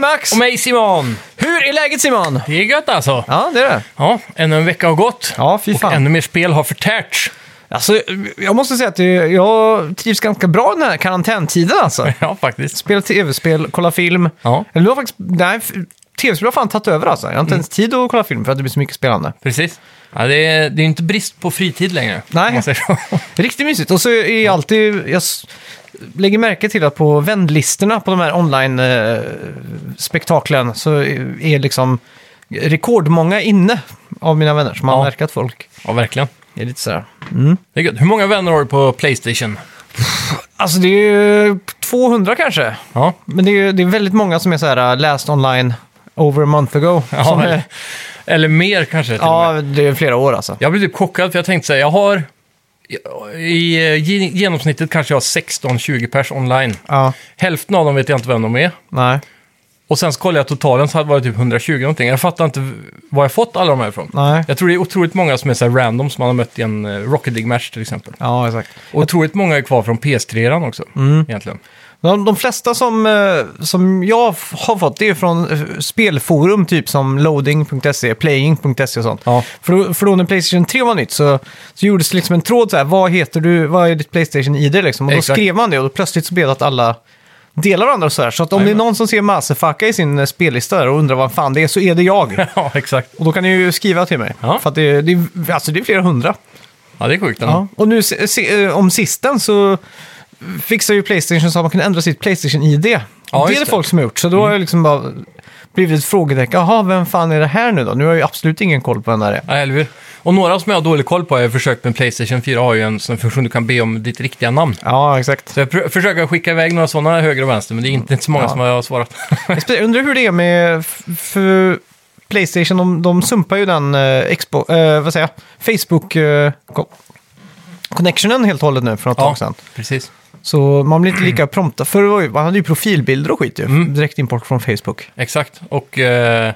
Max! Och mig Simon! Hur är läget Simon? Det är gött alltså! Ja, det är det. Ja, ännu en vecka har gått. Ja, fy Och fan. ännu mer spel har förtärts. Alltså, jag måste säga att det- jag trivs ganska bra i den här karantäntiden alltså. Ja, faktiskt. Spela tv-spel, kolla film. Ja. Eller du har faktiskt... Nej, f- tv-spel har fan tagit över alltså. Jag har inte ens tid att kolla film för att det blir så mycket spelande. Precis. Ja, det, är, det är inte brist på fritid längre. Nej. om man säger så. Riktigt mysigt. Och så är jag alltid... Jag s- lägger märke till att på vänlistorna på de här online-spektaklen så är liksom rekordmånga inne av mina vänner. Så man Ja. märker att folk Ja, verkligen. är lite sådär... Det är gött. Hur många vänner har du på Playstation? Alltså det är ju 200 kanske. Ja, Men det är, ju- det är väldigt många som är så här uh, last online over a month ago. ja som är, eller, eller mer kanske till och med. ja det är flera år alltså. Jag blev typ chockad för jag tänkte säga, jag har... I eh, ge- genomsnittet kanske jag har 16-20 pers online. Ja, Hälften av dem vet jag inte vem de är. nej, Och sen så kollade jag totalen så var det typ 120 någonting. Jag fattar inte v- var jag fått alla de här ifrån. nej. Jag tror det är otroligt många som är så här random som man har mött i en eh, Rocket League-match till exempel. Ja, exakt. Och otroligt många är kvar från PS3-eran också, Mm. egentligen. De, de flesta som, eh, som jag f- har fått det är från eh, spelforum typ som loading.se, playing.se och sånt. Ja. För, då- för då när Playstation 3 var nytt så, så gjordes det liksom en tråd så här, vad heter du, vad är ditt Playstation-ID liksom? Och då Exakt. skrev man det och då plötsligt så blev det att alla delar varandra och så här. Så att om det är Jajamän. någon som ser Masefaka i sin eh, spellista där och undrar vad fan det är så är det jag. ja, exakt. och då kan ni ju skriva till mig. Ja. För att det, det, är- alltså det är flera hundra. Ja, det är sjukt. ändå. Ja. Och nu se, se, eh, om sisten så fixar ju Playstation så att man kan ändra sitt Playstation-ID. det är just det det. folk som har gjort, så då har jag liksom bara blivit ett frågetecken. Jaha, vem fan är det här nu då? Nu har jag ju absolut ingen koll på vem det här är. Ja, eller hur? Och några som jag har dålig koll på har jag försökt med Playstation 4 har ju en sån funktion du kan be om ditt riktiga namn. Ja, exakt. Så jag pr- försöker skicka iväg några sådana höger och vänster, men det är inte så många Ja. som har svarat. Jag undrar hur det är med... f- För Playstation, de, de sumpar ju den eh, expo, eh, vad säger jag, Facebook... Eh, ko- Connectionen helt och hållet nu för något tag sedan. precis. Så man blir inte lika prompta. Förr var ju, man hade ju profilbilder och skit ju. Mm. Direktimport från Facebook. Exakt. Och, eh,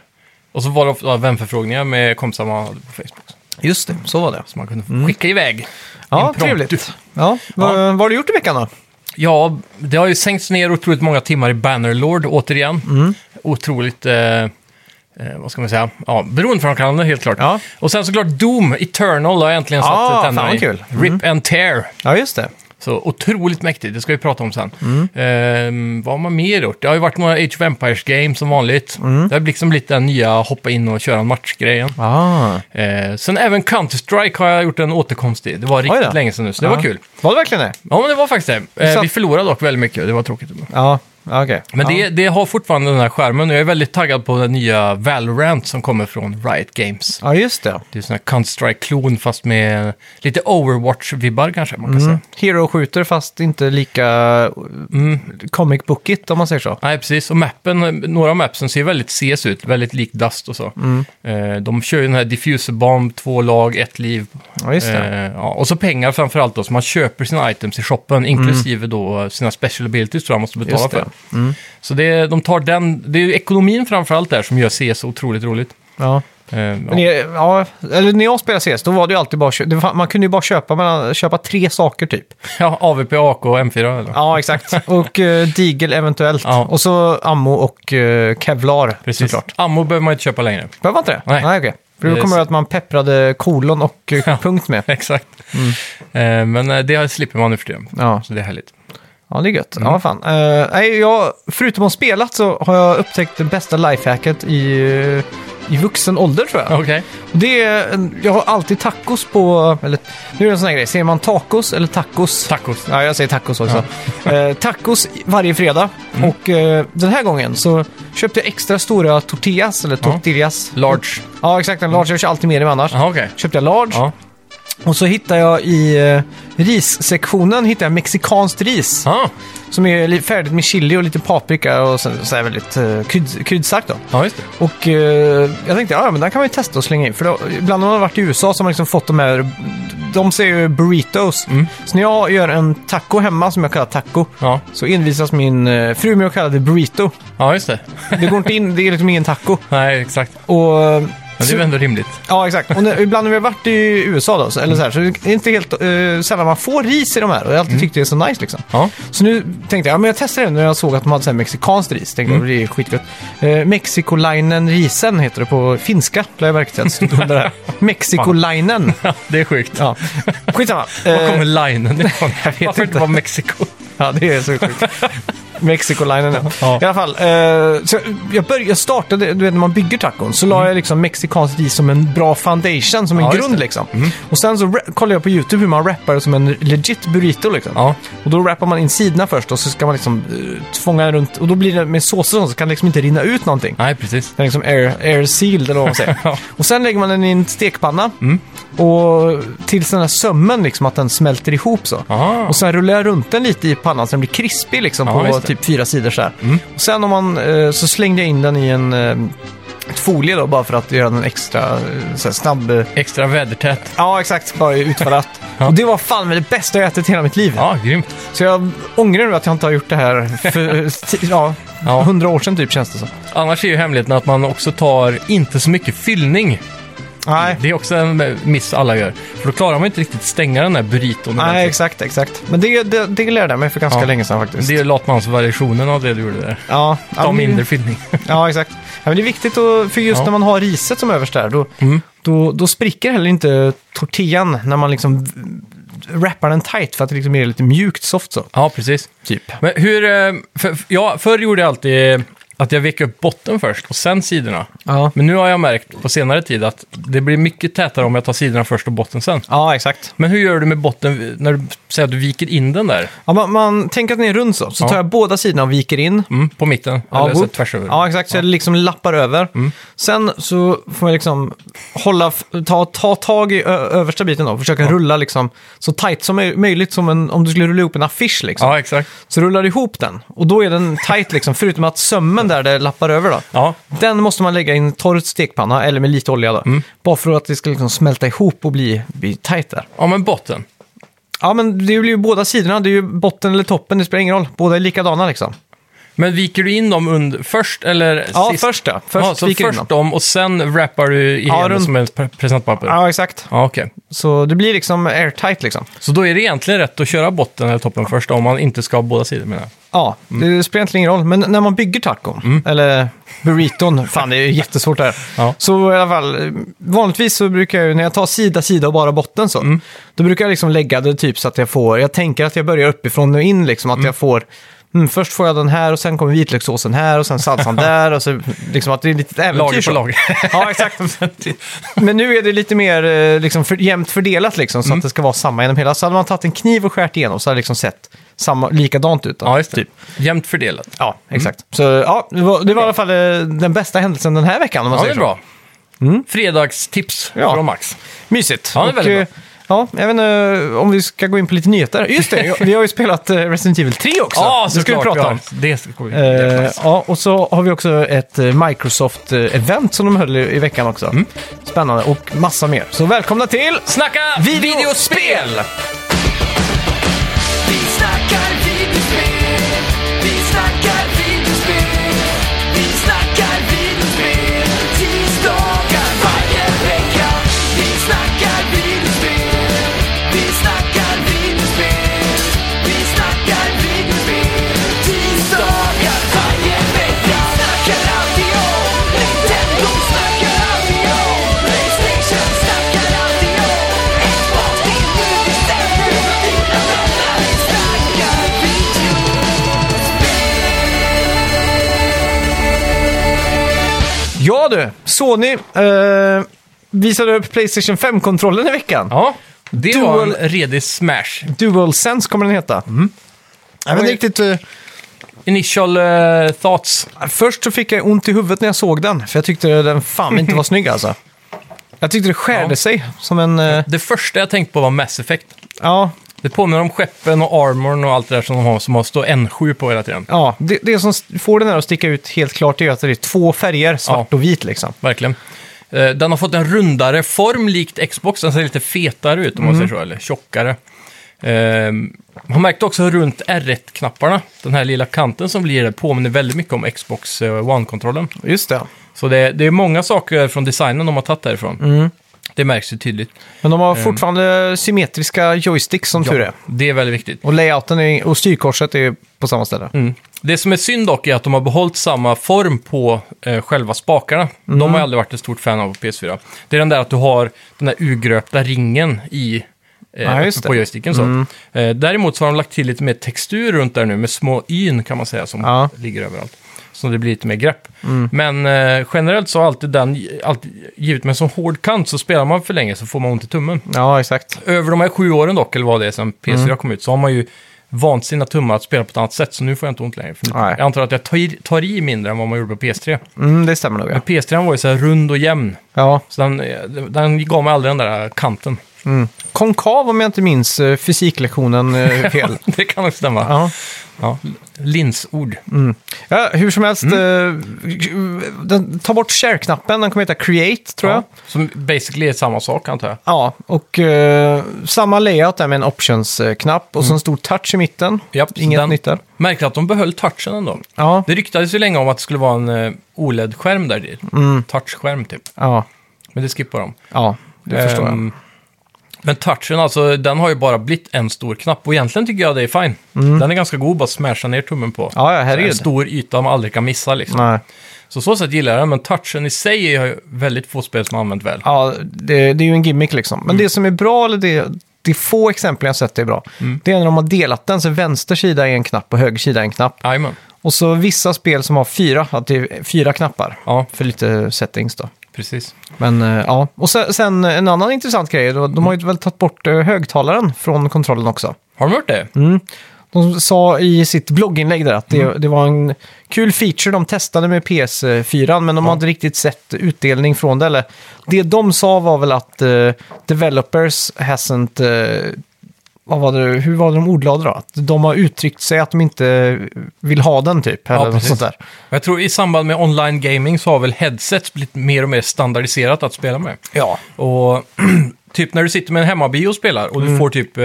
och så var det ofta vänförfrågningar med kompisar man hade på Facebook. Just det, så var det. Som man kunde skicka iväg. Ja, Impromptu. trevligt. Ja. Vad, vad har du gjort i veckan då? Ja, det har ju sänkts ner otroligt många timmar i Bannerlord återigen. Mm. Otroligt, eh, eh, vad ska man säga, ja, beroendeframkallande helt klart. Ja. Och sen såklart Doom Eternal har jag äntligen Ja, satt fan tänderna vad i. kul. Mm. Rip and Tear. Ja, just det. Så otroligt mäktigt, det ska vi prata om sen. Mm. Ehm, vad har man mer gjort? Det har ju varit några Age of Empires-game som vanligt. Mm. Det har liksom blivit den nya hoppa in och köra en match-grejen. Ah. Eh, sen även Counter-Strike har jag gjort en återkomst i. Det var Oj riktigt då. länge sedan nu, så det var kul. Var det verkligen det? Ja, men det var faktiskt det. Eh, Så- vi förlorade dock väldigt mycket, det var tråkigt. Ja, ja, okej. Men ja. det, det har fortfarande den här skärmen och jag är väldigt taggad på den nya Valorant som kommer från Riot Games. Ja, just det. Mm. Det är sån här Counter-Strike-klon fast med lite Overwatch-vibbar kanske man Mm. kan säga. Hero-skjuter fast inte lika mm. comic bookigt om man säger så. Nej, precis. Och mappen, eh, några av mapsen ser väldigt CS ut, väldigt lik Dust och så. Mm. Eh, de kör ju den här diffuser bomb, två lag, ett liv. Ja, just det. Eh, ja. Och så pengar framför allt då, så man köper sina items i shoppen, inklusive då sina special abilities tror jag man måste betala Mm. Just det. Mm. för. Så det, de tar den, det är ju ekonomin framför allt där som gör CS otroligt roligt. Ja. Eh, ja. Men det, ja, eller när jag spelade CS, då var det ju alltid bara, kö- det, fa- man kunde ju bara köpa, mellan, köpa tre saker typ. Ja, AVP, AK och M4 eller? Ja, exakt. och eh, digel eventuellt. Ja. Och så ammo och eh, kevlar precis. såklart. Ammo behöver man inte köpa längre. Behöver man inte det? Nej. Nej, okej. För då Det- kommer det att man pepprade kolon och eh, Ja. punkt med. Exakt. Mm. Eh, men eh, det slipper man nu för tiden. Ja. Så det är härligt. Ja, det är gött. Mm. Ja, vad fan. Eh, nej, jag, förutom att ha spelat så har jag upptäckt det bästa lifehacket i, eh, i vuxen ålder tror jag. Okej. Det är, en- jag har alltid tacos på, eller nu är det en sån här grej, säger man tacos eller tacos? Tacos. Ja, jag säger tacos också. Eh, tacos varje fredag Mm. och eh, den här gången så köpte jag extra stora tortillas, eller Ja. tortillas. Large. Ja, exakt. En large, jag kör alltid med dem annars. Jaha, okej. Köpte jag large Ja. och så hittade jag i eh, rissektionen hittade jag mexikanskt ris. Ja. Som är li- färdigt med chili och lite paprika och så, så här väldigt uh, krydd, kryddstarkt då. ja, just det. Och eh, jag tänkte, ja men den kan man ju testa och slänga in. För då, ibland när man har varit i USA så har man liksom fått de här, de säger ju burritos. Mm. Så när jag gör en taco hemma som jag kallar taco, Ja, så envisas min eh, fru med att kalla det burrito. ja just det. Det går inte in, det är liksom ingen taco. Nej, exakt. Och eh, Men det är väl ändå rimligt. Ja, exakt. Och när, ibland när vi har varit i USA då, så, eller så, här, så det är inte helt eh, sällan man får ris i de här. Och jag har alltid tyckt det är så nice liksom. Ja. Så nu tänkte jag, ja, men jag testar det när jag såg att de hade så här mexikanskt ris. Tänkte jag, det är skitgött. Eh, Mexicolainen risen heter det på finska, lär jag märkt att stod under här. Mexicolainen. Det är sjukt. Ja. Skitsamma. Var Eh, kommer linen ifrån? jag vet Varför inte. inte vara Mexiko? Ja, det är så sjukt. Mexicolinen, ja. Ja. I alla fall. Eh, så jag, började, jag startade, du vet när man bygger tacon, så la jag liksom mexikanskt ris som en bra foundation, som en Mm. Ja, just grund det. Mm. liksom. Och sen så ra- kollade jag på YouTube hur man rappar som en legit burrito liksom. Ja. Och då rappar man in sidorna först och så ska man liksom eh, fånga runt, och då blir det med såser och sånt, så kan det liksom inte rinna ut någonting. Nej, precis. Den är liksom air, air sealed eller vad man säger. Ja. Mm. Och sen lägger man den i en stekpanna. Och tills den här sömmen liksom, att den smälter ihop så. Ah. Och sen rullar jag runt den lite i pannan så den blir krispig liksom Ja, på just det. Mm. typ fyra sidor så här. Och sen om man, eh, så slängde jag in den i en eh, ett folie då bara för att göra den extra eh, så här, snabb. eh, Extra vädertät. Ja exakt, bara utfallat. Ja. Och det var fan med det bästa jag ätit i hela mitt liv. Ja, grymt. Så jag ångrar nu att jag inte har gjort det här för eh, ti- ja, Ja. hundra år sedan typ känns det som. Annars är ju hemligheten att man också tar inte så mycket fyllning. Nej, Det är också en eh, miss alla gör. För då klarar man inte riktigt stänga den här burriton. Nej, ordentligt. exakt, exakt. Men det, det, det lärde jag mig för ganska Ja. länge sedan faktiskt. Det är latmansvariationen av det du gjorde där. ja, ja, Ta men- mindre fyllning. Ja, exakt. Ja, men det är viktigt, att, för just Ja. Mm. när man har riset som överst där, då, då, då spricker heller inte tortillan när man liksom wrappar den tight för att det liksom är lite mjukt soft så. Ja, precis. Typ. Men hur... eh, För, för- ja, förr gjorde jag alltid att jag vek upp botten först och sen sidorna. Ja, Men nu har jag märkt på senare tid att det blir mycket tätare om jag tar sidorna först och botten sen. ja exakt. Men hur gör du med botten när du säger att du viker in den där? Ja, man, man tänker att den är rund så, så Ja. tar jag båda sidorna och viker in. Mm, på mitten? Ja, eller så god. tvärs över? Mm. Ja, exakt. Så jag liksom lappar över. Sen så får jag liksom hålla, f- ta, ta tag i ö- översta biten då. Försöka rulla liksom så tight som möj- möjligt, som en, om du skulle rulla upp en affisch liksom. ja exakt. Så rullar du ihop den och då är den tight liksom, förutom att sömmen där det lappar över då. Ja, Den måste man lägga i en torr stekpanna, eller med lite olja då. Bara för att det ska liksom smälta ihop och bli, bli tight där. ja men botten. Ja, men det blir ju båda sidorna. Det är ju botten eller toppen, det spelar ingen roll. Båda är likadana liksom. Men viker du in dem under, först eller Ja, sist? först då. Först ja, så viker in först dem. dem och sen wrappar du i Ja, ja, runt- som ett pre- presentpapper? Ja, Ja, exakt. okej. Så det blir liksom airtight liksom. Så då är det egentligen rätt att köra botten eller toppen först om man inte ska ha båda sidor menar jag. Ja, Mm. det spelar egentligen ingen roll. Men när man bygger tacon, eller burriton, fan det är ju jättesvårt det här. Ja. Så i alla fall, eh, vanligtvis så brukar jag ju, när jag tar sida, sida och bara botten så, Mm. då brukar jag liksom lägga det typ så att jag får, jag tänker att jag börjar uppifrån och in liksom, att jag får, mm, först får jag den här och sen kommer vitlökssåsen här och sen salsan där och så liksom att det är lite äventyr Lager så. på lager. Ja, exakt. Men nu är det lite mer eh, liksom, för, jämnt fördelat liksom, så Mm. att det ska vara samma genom hela. Så hade man tagit en kniv och skärt igenom så hade det liksom sett samma, likadant ut. Då. ja, just det. Jämnt fördelat. Ja, exakt. Mm. Så ja, det var, det var i alla fall eh, den bästa händelsen den här veckan om man Ja, det säger Mm. är bra. Fredagstips Ja. från Max. så. Mysigt. Ja, det är väldigt eh, Ja, jag vet inte eh, om vi ska gå in på lite nyheter. Just det, jag- vi har ju spelat eh, Resident Evil 3 också. det ska vi prata om. Ja, det ska vi. Eh, ja, och så har vi också ett eh, Microsoft-event som de höll i, i veckan också. Mm. Spännande, och massa mer. Så välkomna till Snacka videospel! Vi snackar videospel, vi snackar videospel, vi snackar videospel, tisdagar varje vecka. Vi snackar videospel, vi snackar videospel, vi snackar videospel, tisdagar varje vecka. Snackar alltid om Nintendo, snackar alltid om Playstation, snackar alltid om Xbox, det är nu vi sätter dina vänner. Vi snackar video. Ja du, Sony eh, visade upp Playstation 5-kontrollen i veckan. Ja, det Dual- var en redig smash. DualSense kommer den heta. Mm. Jag vet inte riktigt, eh, Initial eh, thoughts. först så fick jag ont i huvudet när jag såg den, för jag tyckte den fan inte var snygg alltså. Jag tyckte det skärde Ja. sig som en... eh, Det första jag tänkte på var Mass Effect. ja, Det påminner om skeppen och armorn och allt det där som de har, som har stå N7 på hela tiden. ja det, det som st- får den här att sticka ut helt klart det är ju att det är två färger, svart och vit liksom. Verkligen. Eh, Den har fått en rundare form likt Xbox. Den ser lite fetare ut om man säger så, eller tjockare. Eh, Man märkte också runt R1-knapparna, den här lilla kanten som blir där, påminner väldigt mycket om Xbox eh, One-kontrollen. Just det. Så det, det är många saker från designen de har tagit därifrån. Det märks ju tydligt. Men de har Eh. fortfarande symmetriska joysticks som tur är. det är väldigt viktigt. Och layouten är, och styrkorset är på samma ställe. Mm. Det som är synd dock är att de har behållit samma form på eh, själva spakarna. De har Mm. jag aldrig varit ett stort fan av på PS4. Det är den där att du har den där urgröpta ringen i eh, Ja, just det. Mm. på joysticken. Så. Eh, däremot så har de lagt till lite mer textur runt där nu med små yn kan man säga som Ja. Mm. ligger överallt. Så det blir lite mer grepp. Men eh, generellt så har alltid den, alltid, givet med en sån hård kant så spelar man för länge så får man ont i tummen Ja, exakt. över de här sju åren dock, eller vad det är sen PS4 Mm. kom ut, så har man ju vant sina tummar att spela på ett annat sätt, så nu får jag inte ont längre. För nu- Nej. jag antar att jag tar i, tar i mindre än vad man gjorde på PS3. Mm, det stämmer nog, ja. PS3 var ju så här rund och jämn, ja. så den, eh, den gav mig aldrig den där kanten. Konkav, om jag inte minns eh, fysiklektionen eh, fel. det kan också stämma. Ja. ja. Mm. Linsord. Ja, hur som Mm. helst, eh, den, ta bort share-knappen, den kommer heta create tror jag. Ja. Som basically är samma sak, antar jag. Ja, och eh, samma layout där med en options-knapp och så en stor touch i mitten. Japp, Mm. så Inget den- nytt där. Märkte att de behöll touchen ändå. Ja, Det ryktades ju länge om att det skulle vara en eh, OLED-skärm där i. Mm. Touchskärm, typ. ja, Men det skippar de. ja, det förstår jag. Ehm, Men touchen, alltså, den har ju bara blivit en stor knapp. Och egentligen tycker jag det är fine. Den är ganska god att bara smasha ner tummen på. Mm. Ja, ja, herregud. en stor yta man aldrig kan missa liksom. Nej. Så så sätt gillar jag den, men touchen i sig är ju väldigt få spel som har använt väl. Ja, det, det är ju en gimmick liksom. Mm. Men det som är bra, eller det, det få exempel jag sett är bra, Mm. det är när de har delat den så vänster sida är en knapp och höger sida är en knapp. Jajamän. Och så vissa spel som har fyra, att det är fyra knappar Ja, för lite settings då. precis. Men eh, ja, och sen, sen en annan intressant grej, då, de har ju väl tagit bort eh, högtalaren från kontrollen också. Har de hört det? Mm. De sa i sitt blogginlägg där att det, det var en kul feature de testade med PS4, men de har inte riktigt sett utdelning från det. Eller, det de sa var väl att eh, developers hasn't... eh, vad var det, hur var det de ordlade då? Att de har uttryckt sig att de inte eh, vill ha den typ, eller något precis. sånt där. Jag tror i samband med online gaming så har väl headsets blivit mer och mer standardiserat att spela med. Ja. Och typ när du sitter med en hemmabio och spelar och Mm. du får typ eh,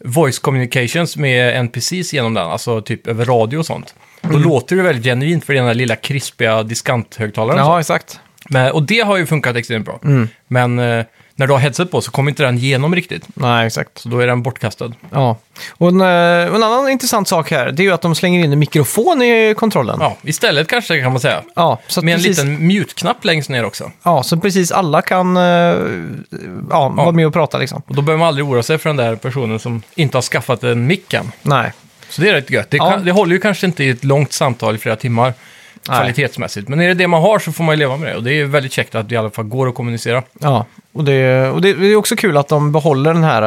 voice communications med NPCs genom den, alltså typ över radio och sånt. Mm. Då låter det väldigt genuint för den där lilla krispiga diskanthögtalaren. och Ja, sånt. exakt. Men, och det har ju funkat extremt bra. Mm. Men eh, när du har headset på så kommer inte den igenom riktigt. Nej, exakt. Så då är den bortkastad. Ja. Och en, eh, och en annan intressant sak här, det är ju att de slänger in en mikrofon i kontrollen. Ja, istället kanske kan man säga. Ja, så att Med en precis, liten mute-knapp längst ner också. ja, så precis alla kan eh, ja, vara med och prata liksom. Och då behöver man aldrig oroa sig för den där personen som inte har skaffat en mick än. Nej. Så det är rätt gött. Det, Ja. kan, det håller ju kanske inte i ett långt samtal i flera timmar kvalitetsmässigt. Men är det det man har så får man ju leva med det. Och det är väldigt käckt att det i alla fall går att kommunicera. Ja, och det, och det det är också kul att de behåller den här,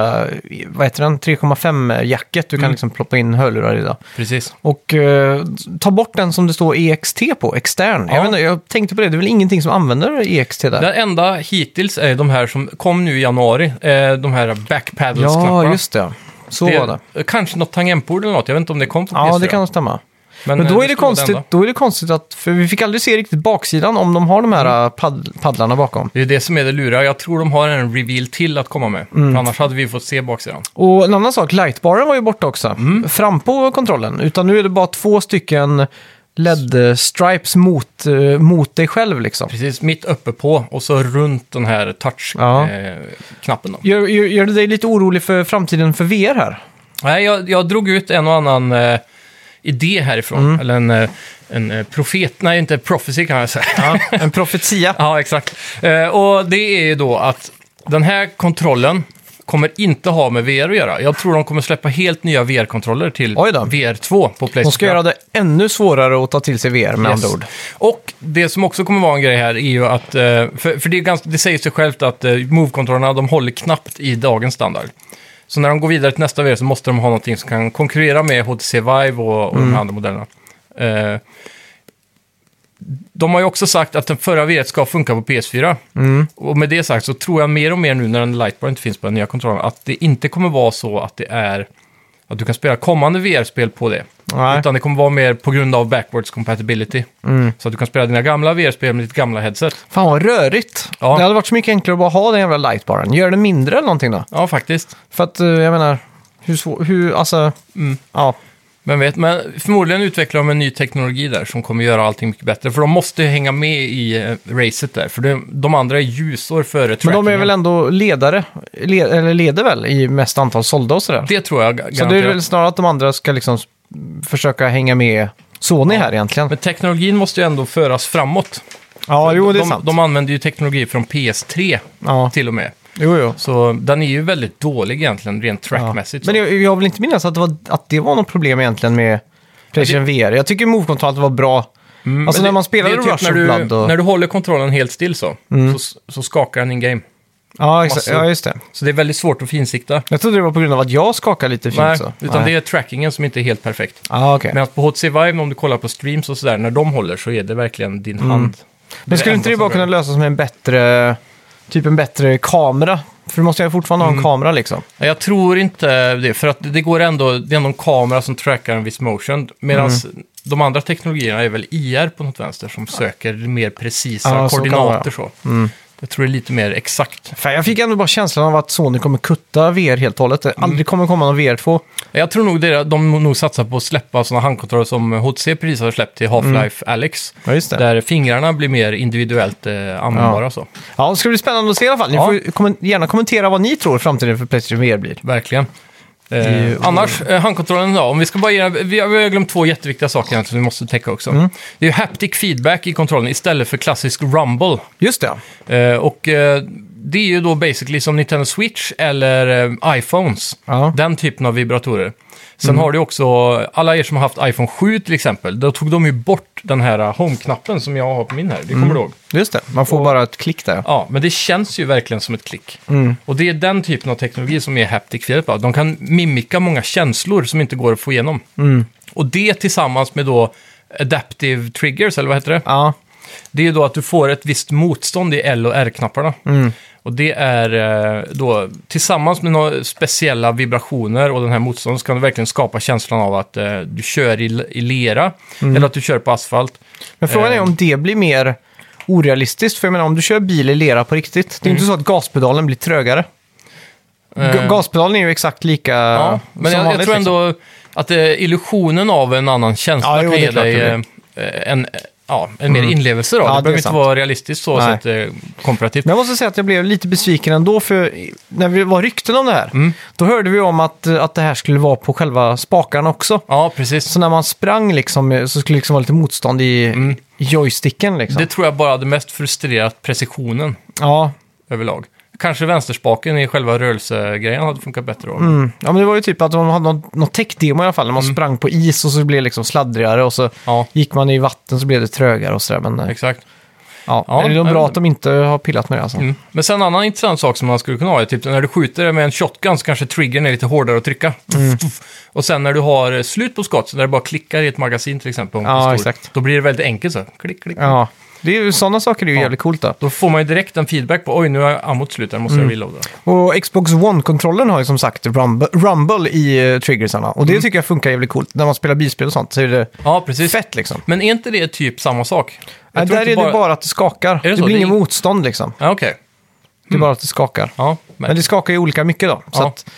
eh, vad heter den, 3,5-jacket. Du Mm. kan liksom ploppa in hörlurar i det. Precis. Och eh, ta bort den som det står EXT på, extern. Jag, Ja. vet inte, jag tänkte på det, det är väl ingenting som använder EXT där? Den enda hittills är de här som kom nu i januari. Eh, de här backpaddles-knapparna. ja, just det. Så det, var det. eh, Kanske något tangentbord eller något. Jag vet inte om det kom på Ja, PS4. det kan stämma. Men, eh, då, är det skulle vara konstigt, enda. då är det konstigt att, för vi fick aldrig se riktigt baksidan om de har de här eh, padd, paddlarna bakom. Det är det som är det luriga. Jag tror de har en reveal till att komma med. Mm. För annars hade vi fått se baksidan. Och en annan sak, lightbaren var ju borta också. Fram på kontrollen. Utan nu är det bara två stycken LED-stripes mot, eh, mot dig själv liksom. Precis, mitt uppe på och så runt den här Ja. touch-knappen. då. Gör, gör, gör det dig lite orolig för framtiden för VR här? Nej, jag, jag drog ut en och annan eh, idé härifrån. Mm. Eller en, eh, en eh, profet, nej inte prophecy kan jag säga. Ja, En profetia. exakt. Eh, och det är ju då att den här kontrollen kommer inte ha med VR att göra. Jag tror de kommer släppa helt nya VR-kontroller till Oj då. VR2 på Playstation. De ska göra det ännu svårare att ta till sig VR med Yes. andra ord. Och det som också kommer vara en grej här är ju att, eh, för, för det, är ganska, det säger sig självt att eh, move-kontrollerna de håller knappt i dagens standard. Så när de går vidare till nästa VR så måste de ha någonting som kan konkurrera med HTC Vive och, och Mm. de här andra modellerna. Eh, de har ju också sagt att den förra VR ska funka på PS4. Mm. Och med det sagt så tror jag mer och mer nu när den Lightbar inte finns på den nya kontrollen att det inte kommer vara så att det är att du kan spela kommande VR-spel på det. Nej. Mm. Utan det kommer vara mer på grund av backwards compatibility. Så att du kan spela dina gamla VR-spel med ditt gamla headset. Fan vad rörigt. Ja. Det hade varit så mycket enklare att bara ha den jävla lightbaren. Gör den mindre eller någonting då. Ja, faktiskt. Mm. För att eh, jag menar, hur svår, hur, alltså, ja. Vem vet, men förmodligen utvecklar de en ny teknologi där som kommer göra allting mycket bättre. För de måste ju hänga med i eh, racet där, för de, de andra är ljusår före Men de är trackingen. väl ändå ledare, le, eller leder väl i mest antal sålda och sådär. Det tror jag ga- Så det är väl garanterat. snarare att de andra ska liksom s- försöka hänga med Sony här egentligen. Men teknologin måste ju ändå föras framåt. Ja, jo, det är de, sant. de använder ju teknologi från PS3 Ja, till och med. jo, jo. Så den är ju väldigt dålig egentligen, rent Ja. trackmässigt. så. Men jag, jag vill inte minnas att det, var, att det var något problem egentligen med Playstation VR. Jag tycker move-kontrollen var bra. alltså Mm, Men när det- man spelade det är typ Rush när of du, Blood och... Mm. När du håller kontrollen helt still så, så, så skakar den in-game. ja, exakt, massor. ja, just det. Så det är väldigt svårt att finsikta. Jag trodde det var på grund av att jag skakade lite fint Nej, så. utan Nej. det är trackingen som inte är helt perfekt. Ah, okej. Medan på HTC Vive, om du kollar på streams och sådär, när de håller så är det verkligen din Mm. hand. är Men skulle enda inte det som bara rör. kunna lösas med en bättre, typ en bättre kamera? För du måste ju fortfarande Mm. ha en kamera liksom. Nej, Jag tror inte det, för att det går ändå, det är ändå en kamera som trackar en viss motion. Medan Mm. de andra teknologierna är väl IR på något vänster som söker mer precisa Ja, så kan det Mm. koordinater så. Jag tror det är lite mer exakt. Fan, jag fick ändå bara känslan av att Sony kommer kutta VR helt och hållet. Mm. Det aldrig kommer komma någon VR2. Jag tror nog det, de nog satsar på att släppa sådana handkontroller som HTC precis har släppt till Half-Life Alyx. Mm. Ja, just det. Där fingrarna blir mer individuellt eh, användbara Ja. så. Ja, det ska bli spännande att se i alla fall. Ni Ja. får ju kommen- gärna kommentera vad ni tror framtiden för Playstation VR blir. Verkligen. Eh, ju- annars, eh, handkontrollen då. Om vi ska bara ge, vi, har, vi har glömt två jätteviktiga saker egentligen som vi måste täcka också. Mm. Det är ju haptic feedback i kontrollen istället för klassisk rumble. Just det. Eh, och eh, det är ju då basically som Nintendo Switch eller eh, iPhones. Ja. Mm. Den typen av vibratorer. Sen har du också, alla er som har haft iPhone 7 till exempel, då tog de ju bort den här eh, Home-knappen som jag har på min här. Det kommer Mm. du ihåg? Just det. Man får bara ett klick där. Ja, men det känns ju verkligen som ett klick. Och det är den typen av teknologi som är haptic feedback. De kan mimika många känslor som inte går att få igenom. Och det tillsammans med då adaptive triggers, eller vad heter det? Ja. Det är ju då att du får ett visst motstånd i L och R-knapparna. Och det är eh, då tillsammans med några speciella vibrationer och den här motståndet så kan du verkligen skapa känslan av att eh, du kör i, i lera eller att du kör på asfalt. Men frågan är Eh. om det blir mer orealistiskt. För jag menar, om du kör bil i lera på riktigt, det är ju inte så att gaspedalen blir trögare. Ga- Mm. Eh. Gaspedalen är ju exakt lika Ja, men som jag, jag vanligt, tror liksom. ändå att eh, illusionen av en annan känsla Ja, jo, kan det ge är klart dig det Mm. eh, en, eh, ja, en mer inlevelse. Då. Ja, det det är behöver inte sant. vara realistiskt så, så Nej. att, eh, komparativt. Men jag måste säga att jag blev lite besviken ändå, för när vi var rykten om det här, Mm. då hörde vi om att, eh, att det här skulle vara på själva spakarna också. Ja, precis. Så när man sprang liksom, så skulle det liksom vara lite motstånd i i joysticken. Liksom. Mm. Det tror jag bara hade mest frustrerat precisionen Ja. överlag. Kanske vänsterspaken i själva rörelsegrejen hade funkat bättre då. Mm. ja, men det var ju typ att de hade någon, någon tech-demo i alla fall, när man Mm. sprang på is och så blev det liksom sladdrigare och så Ja. gick man i vatten så blev det trögare och sådär. Men eh, Exakt. ja, Ja, är det men- bra att de inte har pillat med det alltså. Mm. Men sen en annan intressant sak som man skulle kunna ha är typ när du skjuter med en shotgun så kanske triggern är lite hårdare att trycka. Mm. Och sen när du har eh, slut på skott, så när det bara klickar i ett magasin till exempel, om Ja, pistol, exakt. då blir det väldigt enkelt så. Klick, klick, klick. Ja. Det är ju, sådana saker är ju jävligt coolt då. Då får man ju direkt en feedback på oj, nu har ammot slut, här måste Mm. jag reloada. Och Xbox One-kontrollen har ju som sagt rumble, rumble i eh, triggersarna. Och det Mm. tycker jag funkar jävligt coolt. När man spelar bilspel och sånt så är det Ja, precis. fett liksom. Men är inte det typ samma sak? Jag Nej, tror där är inte det bara... att det skakar. det det, så? blir Det är inget ing- motstånd liksom. Ja, okej. Det är bara att det skakar. Ja, Men det skakar ju olika mycket då. Så Ja. Mm. att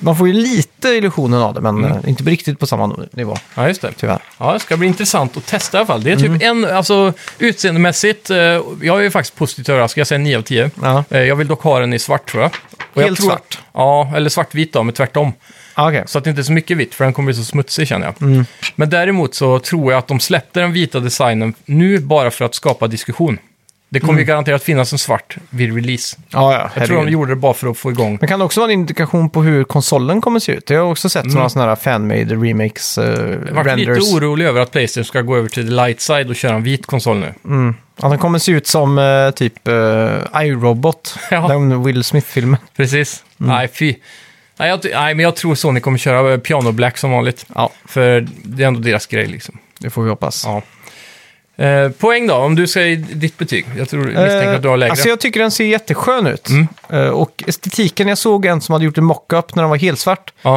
man får ju lite illusionen av det, men eh, inte riktigt på samma nivå, ja, just det. tyvärr. Mm. Ja, det ska bli intressant att testa i alla fall. Det är typ en, alltså utseendemässigt, eh, jag är ju faktiskt positivt överraskad, jag säger 9 av 10. Ja. Eh, Jag vill dock ha den i svart tror jag. Och jag Helt tror svart? Att, ja, eller svartvit då, men tvärtom. Ah, Okej. Så att det inte är så mycket vitt, för den kommer bli så smutsig känner jag. Mm. Men däremot så tror jag att de släppte den vita designen nu bara för att skapa diskussion. Det Mm. kommer ju garanterat finnas en svart vid release. Ja, ja, Jag tror de herregud. gjorde det bara för att få igång. Men kan det också vara en indikation på hur konsolen kommer se ut? Jag har också sett några sådana här fanmade remakes, eh, Jag Mm. varit renders. lite orolig över att Playstation ska gå över till the light side och köra en vit konsol nu. Att den kommer se ut som eh, typ eh, iRobot, Ja. den Will Smith-filmen. Precis. Mm. Nej, fy. Nej, jag, ty- nej, men jag tror Sony kommer köra eh, Piano Black som vanligt. Ja, För det är ändå deras grej liksom. det får vi hoppas. Ja. Eh, poäng då, om du säger ditt betyg. Jag tror misstänker att du har lägre. Mm. Eh, Alltså jag tycker den ser jätteskön ut. Eh, Och estetiken, jag såg en som hade gjort en mock-up när den var helt svart. Ja.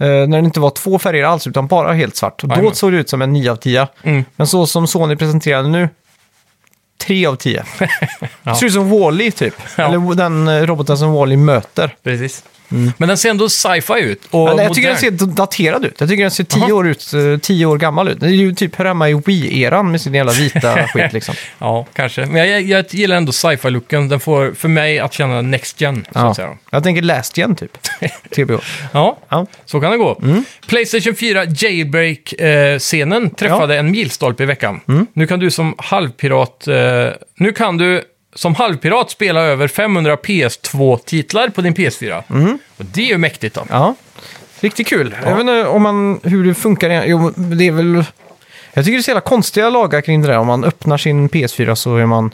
Eh, när den inte var två färger alls, utan bara helt svart. Och då Jajamän. såg det ut som en 9 av 10. Mm. Men så som Sony presenterade nu, tre av tio. Det ser ut som Wall-E typ. Eller den eh, roboten som Wall-E möter. Precis. Mm. Men den ser ändå sci-fi ut. Och Men jag tycker modern. den ser daterad ut. Jag tycker den ser tio, Aha. år, ut, eh, tio år gammal ut. Det är ju typ hör hemma i Wii-eran med sin jävla vita skit liksom. Ja, kanske. Men jag, jag gillar ändå sci-fi-looken. Den får för mig att känna next gen, så Ja. att säga. Jag tänker Last Gen typ. TBH. Ja, Ja. så kan det gå. Mm. Playstation 4 Jailbreak-scenen träffade en milstolpe i veckan. Mm. Nu kan du som halvpirat... Eh, nu kan du som halvpirat spela över 500 PS2-titlar på din PS4. Och det är ju mäktigt då. Mm. ja. Riktigt kul. Jag vet inte om man, hur det funkar. igen. Jo, det är väl... Jag tycker det är så jävla konstiga lagar kring det där. Om man öppnar sin PS4 så är man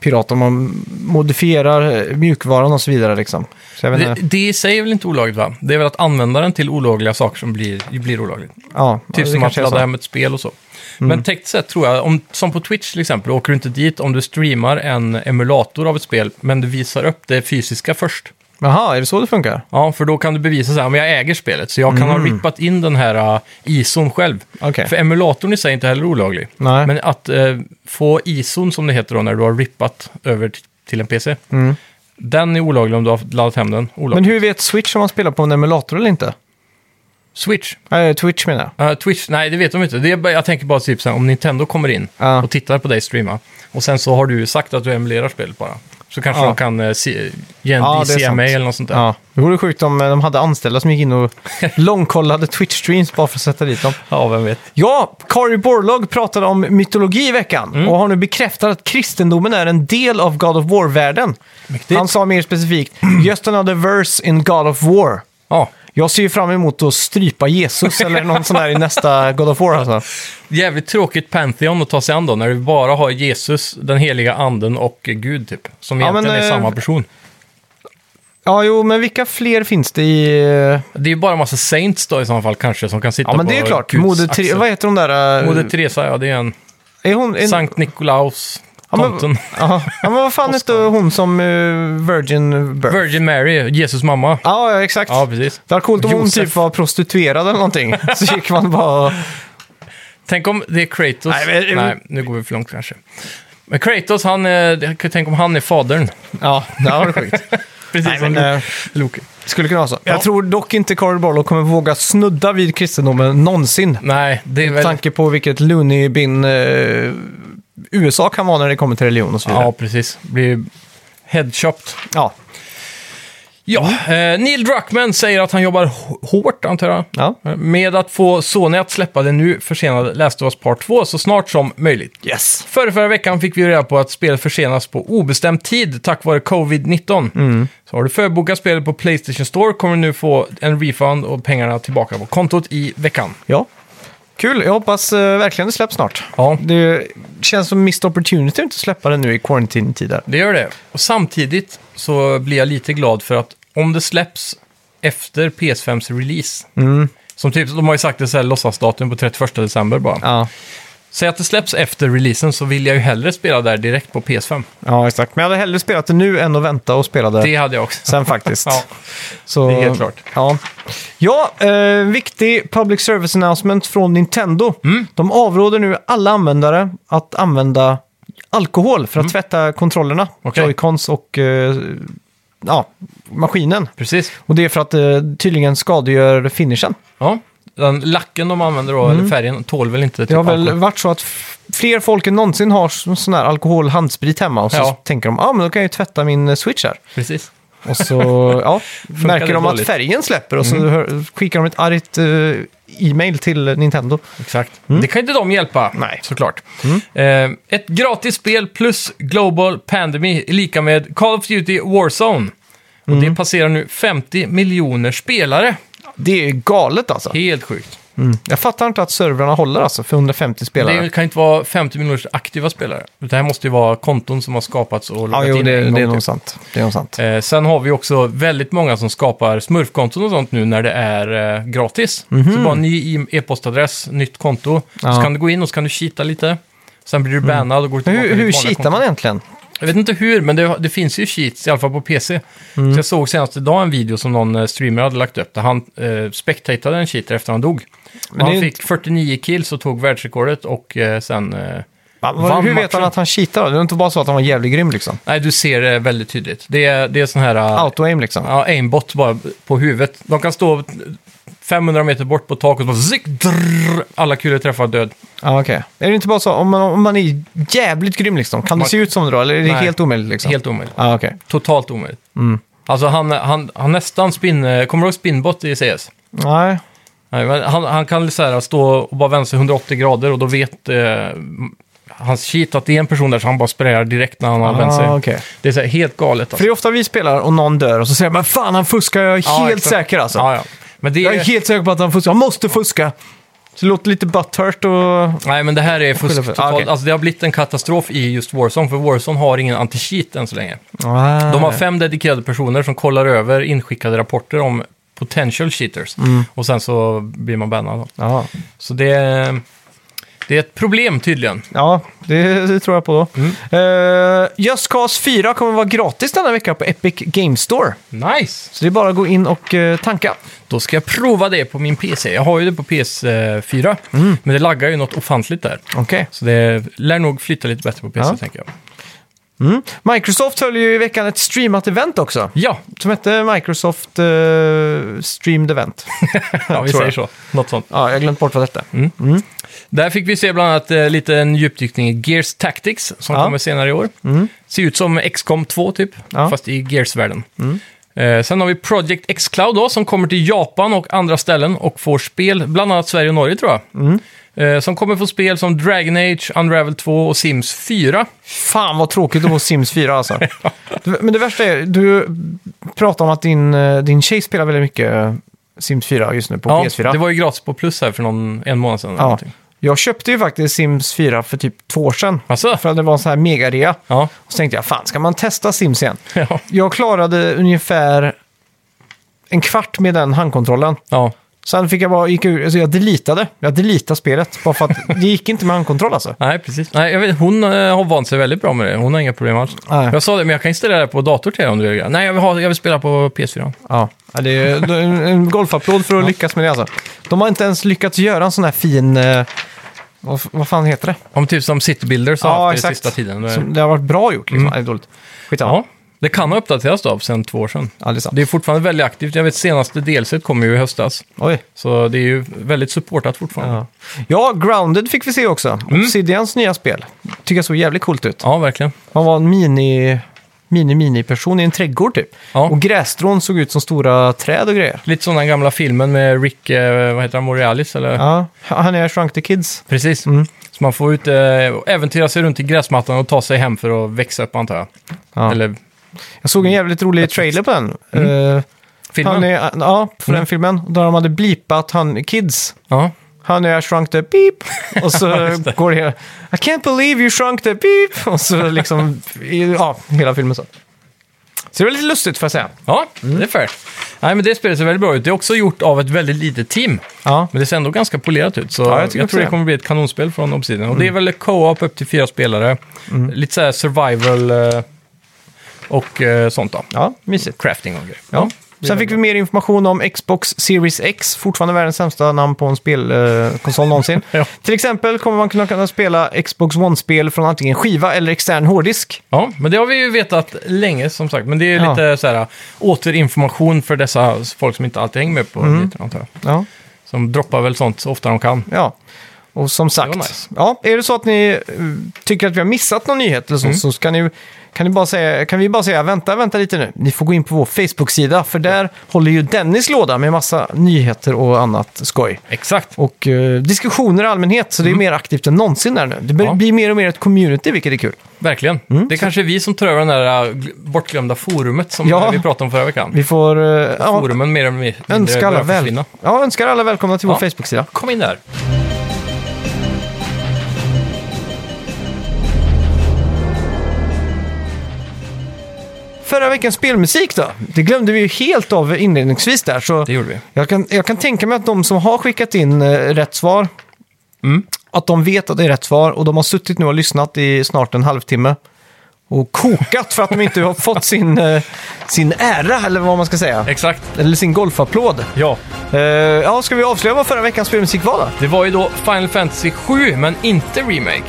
pirat. Om man modifierar eh, mjukvaran och så vidare liksom. Så jag vet Det, inte. det i sig är väl inte olagligt va? Det är väl att användaren till olagliga saker som blir, blir olagligt. Ja, Typ det som att kanske är så. Mm. ladda hem ett spel och så. Men tekniskt sett tror jag, om, som på Twitch till exempel, åker du inte dit om du streamar en emulator av ett spel, men du visar upp det fysiska först. Jaha, är det så det funkar? Ja, för då kan du bevisa så här, men jag äger spelet, så jag kan ha rippat in den här uh, ISOn själv. Mm. Okej. För emulatorn i sig är inte heller olaglig. Nej. Men att eh, få ISOn, som det heter då, när du har rippat över t- till en PC, den är olaglig om du har laddat hem den. Olaglig. Mm. Men hur vet Switch om man spelar på en emulator eller inte? Switch, Nej, eh, Twitch menar jag. Ja, Twitch, nej det vet de inte. Det är, bara- jag tänker bara typ så här, om Nintendo kommer in Ja. och tittar på dig streama och sen så har du sagt att du emulerar spelet bara. Så kanske Ja. de kan eh, se, ge en Ja, det är DCMA sant. eller något sånt där. Ja. Ja. Det vore sjukt om eh, de hade anställda som gick in och långkollade Twitch-streams bara för att sätta dit dem. vem vet. Ja, Kari Borlaug pratade om mytologi i veckan Mm. och har nu bekräftat att kristendomen är en del av God of War-världen. Mäktigt. Han sa mer specifikt “Just another verse in God of War”. Ja, Jag ser ju fram emot att strypa Jesus eller någon sån där i nästa God of War alltså. jävligt tråkigt Pantheon att ta sig an då, när du bara har Jesus, den heliga anden och eh, Gud typ. Som Ja, egentligen men, eh, är samma person. Ja, jo, men vilka fler finns det i... eh, Det är ju bara en massa saints då i så fall kanske, som kan sitta Ja, men på det är klart. Guds Moder axel. Tre... Vad heter de där? eh, Moder Teresa, ja det är en. Är hon... en- Sankt Nikolaus, Ja, men- tomten. Ja, ja, men vad fan hette hon som eh, Virgin Birth? Virgin Mary, Jesus mamma. Ja, ja, exakt. Ja, precis. det var coolt om hon Josef. typ var prostituerad eller någonting. Så gick man bara... Tänk om det är Kratos. Nej, Nej, men- nu går vi för långt kanske. Men Kratos, han, eh, det- tänk om han är fadern. Ja, det var sjukt. Precis Nej, men, som eh, Loki. skulle kunna vara så. Jag tror dock inte Carl Barlow kommer våga snudda vid kristendomen någonsin. Nej, det är Med väl... tanke på vilket loony bin eh, USA kan vara när det kommer till religion och så vidare. Ja, precis. Blir headchopped. Ja. Ja, eh, Neil Druckmann säger att han jobbar h- hårt, antar jag. ja. Eh, Med att få Sony att släppa det nu försenade Last of Us Part 2 så snart som möjligt. Yes. Förra, förra veckan fick vi ju reda på att spelet försenas på obestämd tid tack vare covid-19. Så har du förbokat spelet på Playstation Store kommer du nu få en refund och pengarna tillbaka på kontot i veckan. Ja. Kul, jag hoppas eh, verkligen det släpps snart. Ja, Det känns som missed opportunity att inte släppa det nu i quarantine-tider. det gör det. Och samtidigt så blir jag lite glad för att om det släpps efter PS5s release, Mm. som typ, de har ju sagt det så här låtsasdatum på 31 december bara. Ja. Säg att det släpps efter releasen så vill jag ju hellre spela där direkt på PS5. ja, exakt. Men jag hade hellre spelat det nu än att vänta och spela det, Det hade jag också. sen faktiskt. Ja. Så, det är helt klart. Ja, ja eh, viktig public service announcement från Nintendo. Mm. De avråder nu alla användare att använda alkohol för att tvätta kontrollerna, Mm. Okej. joycons och eh, ja, maskinen. Precis. Och det är för att eh, tydligen skadegör finishen. Ja, den lacken de använder då, eller färgen, tål väl inte typ Det har Mm. väl alkohol. varit så att f- fler folk än någonsin har så- sån här alkoholhandsprit hemma och så Ja. tänker de, ja ah, men då kan jag ju tvätta min eh, switch här. Precis. Och så ja, märker det de att dåligt? Mm. färgen släpper och så hör, skickar de ett argt eh, e-mail till Nintendo. Exakt. Det kan inte de hjälpa, Mm. Nej. Mm. såklart. Eh, ett gratis spel plus Global Pandemic är lika med Call of Duty Warzone. Och Mm. det passerar nu 50 miljoner spelare. Det är ju galet alltså. Helt sjukt. Jag fattar inte att servrarna håller alltså för 150 spelare. Det kan ju inte vara 50 miljoner aktiva spelare. Det här måste ju vara konton som har skapats och ja, loggat jo, in det, en gång det är till. nog sant. Det är nog sant. Eh, sen har vi också väldigt många som skapar smurfkonton och sånt nu när det är eh, gratis. Så bara ny i- e-postadress, nytt konto. Mhm. Ja. Mm. Så kan du gå in och så kan du kita lite. Sen blir du bannad och går Men tillbaka hur till ditt hur vanliga konto. cheatar man egentligen? Jag vet inte hur, men det, det finns ju cheats, i alla fall på PC. Mm. Så jag såg senast idag en video som någon eh, streamer hade lagt upp där han eh, spectatade en cheater efter han dog. Och det han är ju fick 49 kills och tog världsrekordet och eh, sen eh, Va, Vann hur vet matchen. han att han cheatade då? Det är inte bara så att han var jävligt grym liksom. Nej, du ser det väldigt tydligt. Det är, det är sån här... eh, Auto-aim liksom. Ja, aimbot bara på huvudet. De kan stå 500 meter bort på taket och bara zick, drrr, alla kulor träffar död. Ja, okej. Är det inte bara så, om man, om man är jävligt grym liksom, kan det Man- se ut som det då? Eller är det Nej. helt omöjligt liksom? Helt omöjligt. Ja, Mm. okej. Totalt omöjligt. Alltså han, han, han nästan spin... eh, Kommer du ihåg spinbot i CS? Nej. Nej, men han, han kan så här stå och bara vända sig 180 grader och då vet eh, hans cheat att det är en person där så han bara sprayar direkt när han har vänt sig. Ah, okej. Det är så här helt galet. För Alltså. det är ofta vi spelar och någon dör och så säger man men fan han fuskar, jag är Ja, helt exakt. säker alltså. Ja, ja. Men det Jag är är, helt säker på att han fuskar, han måste fuska! Så det låter lite butthurt och... nej, men det här är fusk Skylla för- totalt. Ah, okej. Alltså, det har blivit en katastrof i just Warzone, för Warzone har ingen anti-cheat än så länge. Ah. De har fem dedikerade personer som kollar över inskickade rapporter om potential cheaters. Mm. Och sen så blir man bannad. då. Ja. Så det, är- det är ett problem tydligen. Ja, det, det tror jag på då. Eh, Just Cause 4 kommer vara gratis denna vecka på Epic Game Store. Nice! Så det är bara att gå in och eh, tanka. Då ska jag prova det på min PC. Jag har ju det på PS4, Mm. men det laggar ju något ofantligt där. Okej. Så det lär nog flytta lite bättre på PC, Ja. tänker jag. Microsoft höll ju i veckan ett streamat event också. Ja, Som hette Microsoft eh, Streamed Event. ja vi Tror säger jag. så. Något sånt. Ja, jag har glömt bort vad detta är. Där fick vi se bland annat eh, lite en djupdykning i Gears Tactics, som Ja. Mm. kommer senare i år. Ser ut som XCOM 2, typ, Ja. Mm. fast i Gears-världen. Eh, sen har vi Project X-Cloud då, som kommer till Japan och andra ställen och får spel, bland annat Sverige och Norge tror jag. Mm. Eh, som kommer få spel som Dragon Age, Unravel 2 och Sims 4. Fan vad tråkigt att få Sims 4 alltså. Du- Men det värsta är, du pratar om att din, eh, din tjej spelar väldigt mycket eh, Sims 4 just nu på PS4. Det var ju gratis på Plus här för någon, en månad sedan. eller ja. någonting. Jag köpte ju faktiskt Sims 4 för typ två år sedan. Alltså? För att det var en sån här mega-rea. Ja. Och så tänkte jag, fan ska man testa Sims igen? ja. Jag klarade ungefär en kvart med den handkontrollen. ja. Sen fick jag bara, gick ur, alltså jag deletade. Jag deletade spelet. Bara för att det gick inte med handkontroll alltså. Nej, precis. Nej, jag vet, hon eh, har vant sig väldigt bra med det. Hon har inga problem alls. Nej. Jag sa det, men jag kan installera det på dator till dig om du vill. Nej, jag vill, ha, jag vill spela på PS4. Ja, ja, det är en, en golfapplåd för att lyckas med det alltså. De har inte ens lyckats göra en sån här fin... Eh, vad, f- vad fan heter det? Om typ som City Builders har haft det sista tiden. Det, Som, det har varit bra gjort liksom. Nej, det är dåligt. Skitsamma. Ja. ja, det kan ha uppdaterats då, sen två år sedan. Ja, det är sant. Det är fortfarande väldigt aktivt. Jag vet, senaste delset kom ju i höstas. Oj. Så det är ju väldigt supportat fortfarande. Ja, Ja. ja, Grounded fick vi se också. Obsidians nya spel. Tycker jag såg jävligt coolt ut. verkligen. Man var en mini... Mini-mini-person i en trädgård typ. Ja. Och grässtrån såg ut som stora träd och grejer. Lite som den gamla filmen med Rick, eh, vad heter han, Morales eller? Ja, Mm. han är Shrunk the Kids. Precis. Så man får ut, eh, äventyra sig runt i gräsmattan och ta sig hem för att växa upp antar jag. Ja. Eller Jag såg en jävligt rolig trailer på den. Eh, filmen. han är, ja, för Mm. den filmen. Där de hade blipat han Kids. Ja. Han är shrunk the beep. Och så går det hela, I can't believe you shrunk the beep. Och så liksom, i- ja, hela filmen så. Så det var lite lustigt får jag säga. Ja, det är fair. Nej, men det spelet ser väldigt bra ut. Det är också gjort av ett väldigt litet team. Ja, Men det ser ändå ganska polerat ut, så Ja, jag jag, tycker också tror det det. Mm. kommer bli ett kanonspel från Obsidian. Och det är väl co-op upp till fyra spelare, lite så här survival eh, och eh, sånt då. ja mysigt. Crafting och grejer. Ja. Sen fick vi mer information om Xbox Series X, fortfarande världens sämsta namn på en spelkonsol någonsin. Ja. Till exempel kommer man kunna kunna spela Xbox One-spel från antingen skiva eller extern hårddisk. Ja, men det har vi ju vetat länge som sagt. Men det är Ja. lite så här återinformation för dessa folk som inte alltid hänger med på Mm. nyheterna antar jag. Ja. Som droppar väl sånt så ofta de kan. Ja, och som sagt. var nice. Ja, är det så att ni eh, tycker att vi har missat någon nyhet eller så, Mm. så kan, ni, kan, ni bara säga, kan vi bara säga vänta, vänta lite nu. Ni får gå in på vår Facebook-sida för där håller ju Dennis låda med massa nyheter och annat skoj. Exakt. Och eh, diskussioner i allmänhet, så det är mer aktivt än någonsin där nu. Det blir, Mm. Ja. blir mer och mer ett community, vilket är kul. Verkligen. Mm. Det är kanske vi som tar över den där äh, gl- bortglömda forumet som Ja. äh, vi pratade om förra veckan. Vi får eh, ja, Forumen mer eller mindre önska, alla börjar väl, försvinna. ja, önskar alla välkomna till vår Ja. Facebook-sida. Kom in där. Förra veckans spelmusik då? Det glömde vi ju helt av inledningsvis där. Så Det gjorde vi. Jag kan, jag kan tänka mig att de som har skickat in eh, rätt svar, Mm. att de vet att det är rätt svar och de har suttit nu och lyssnat i snart en halvtimme och kokat för att de inte har fått sin, eh, sin ära, eller vad man ska säga. Exakt. Eller sin golfapplåd. Ja. Eh, ja, ska vi avslöja vad förra veckans spelmusik var då? Det var ju då Final Fantasy 7, men inte remake.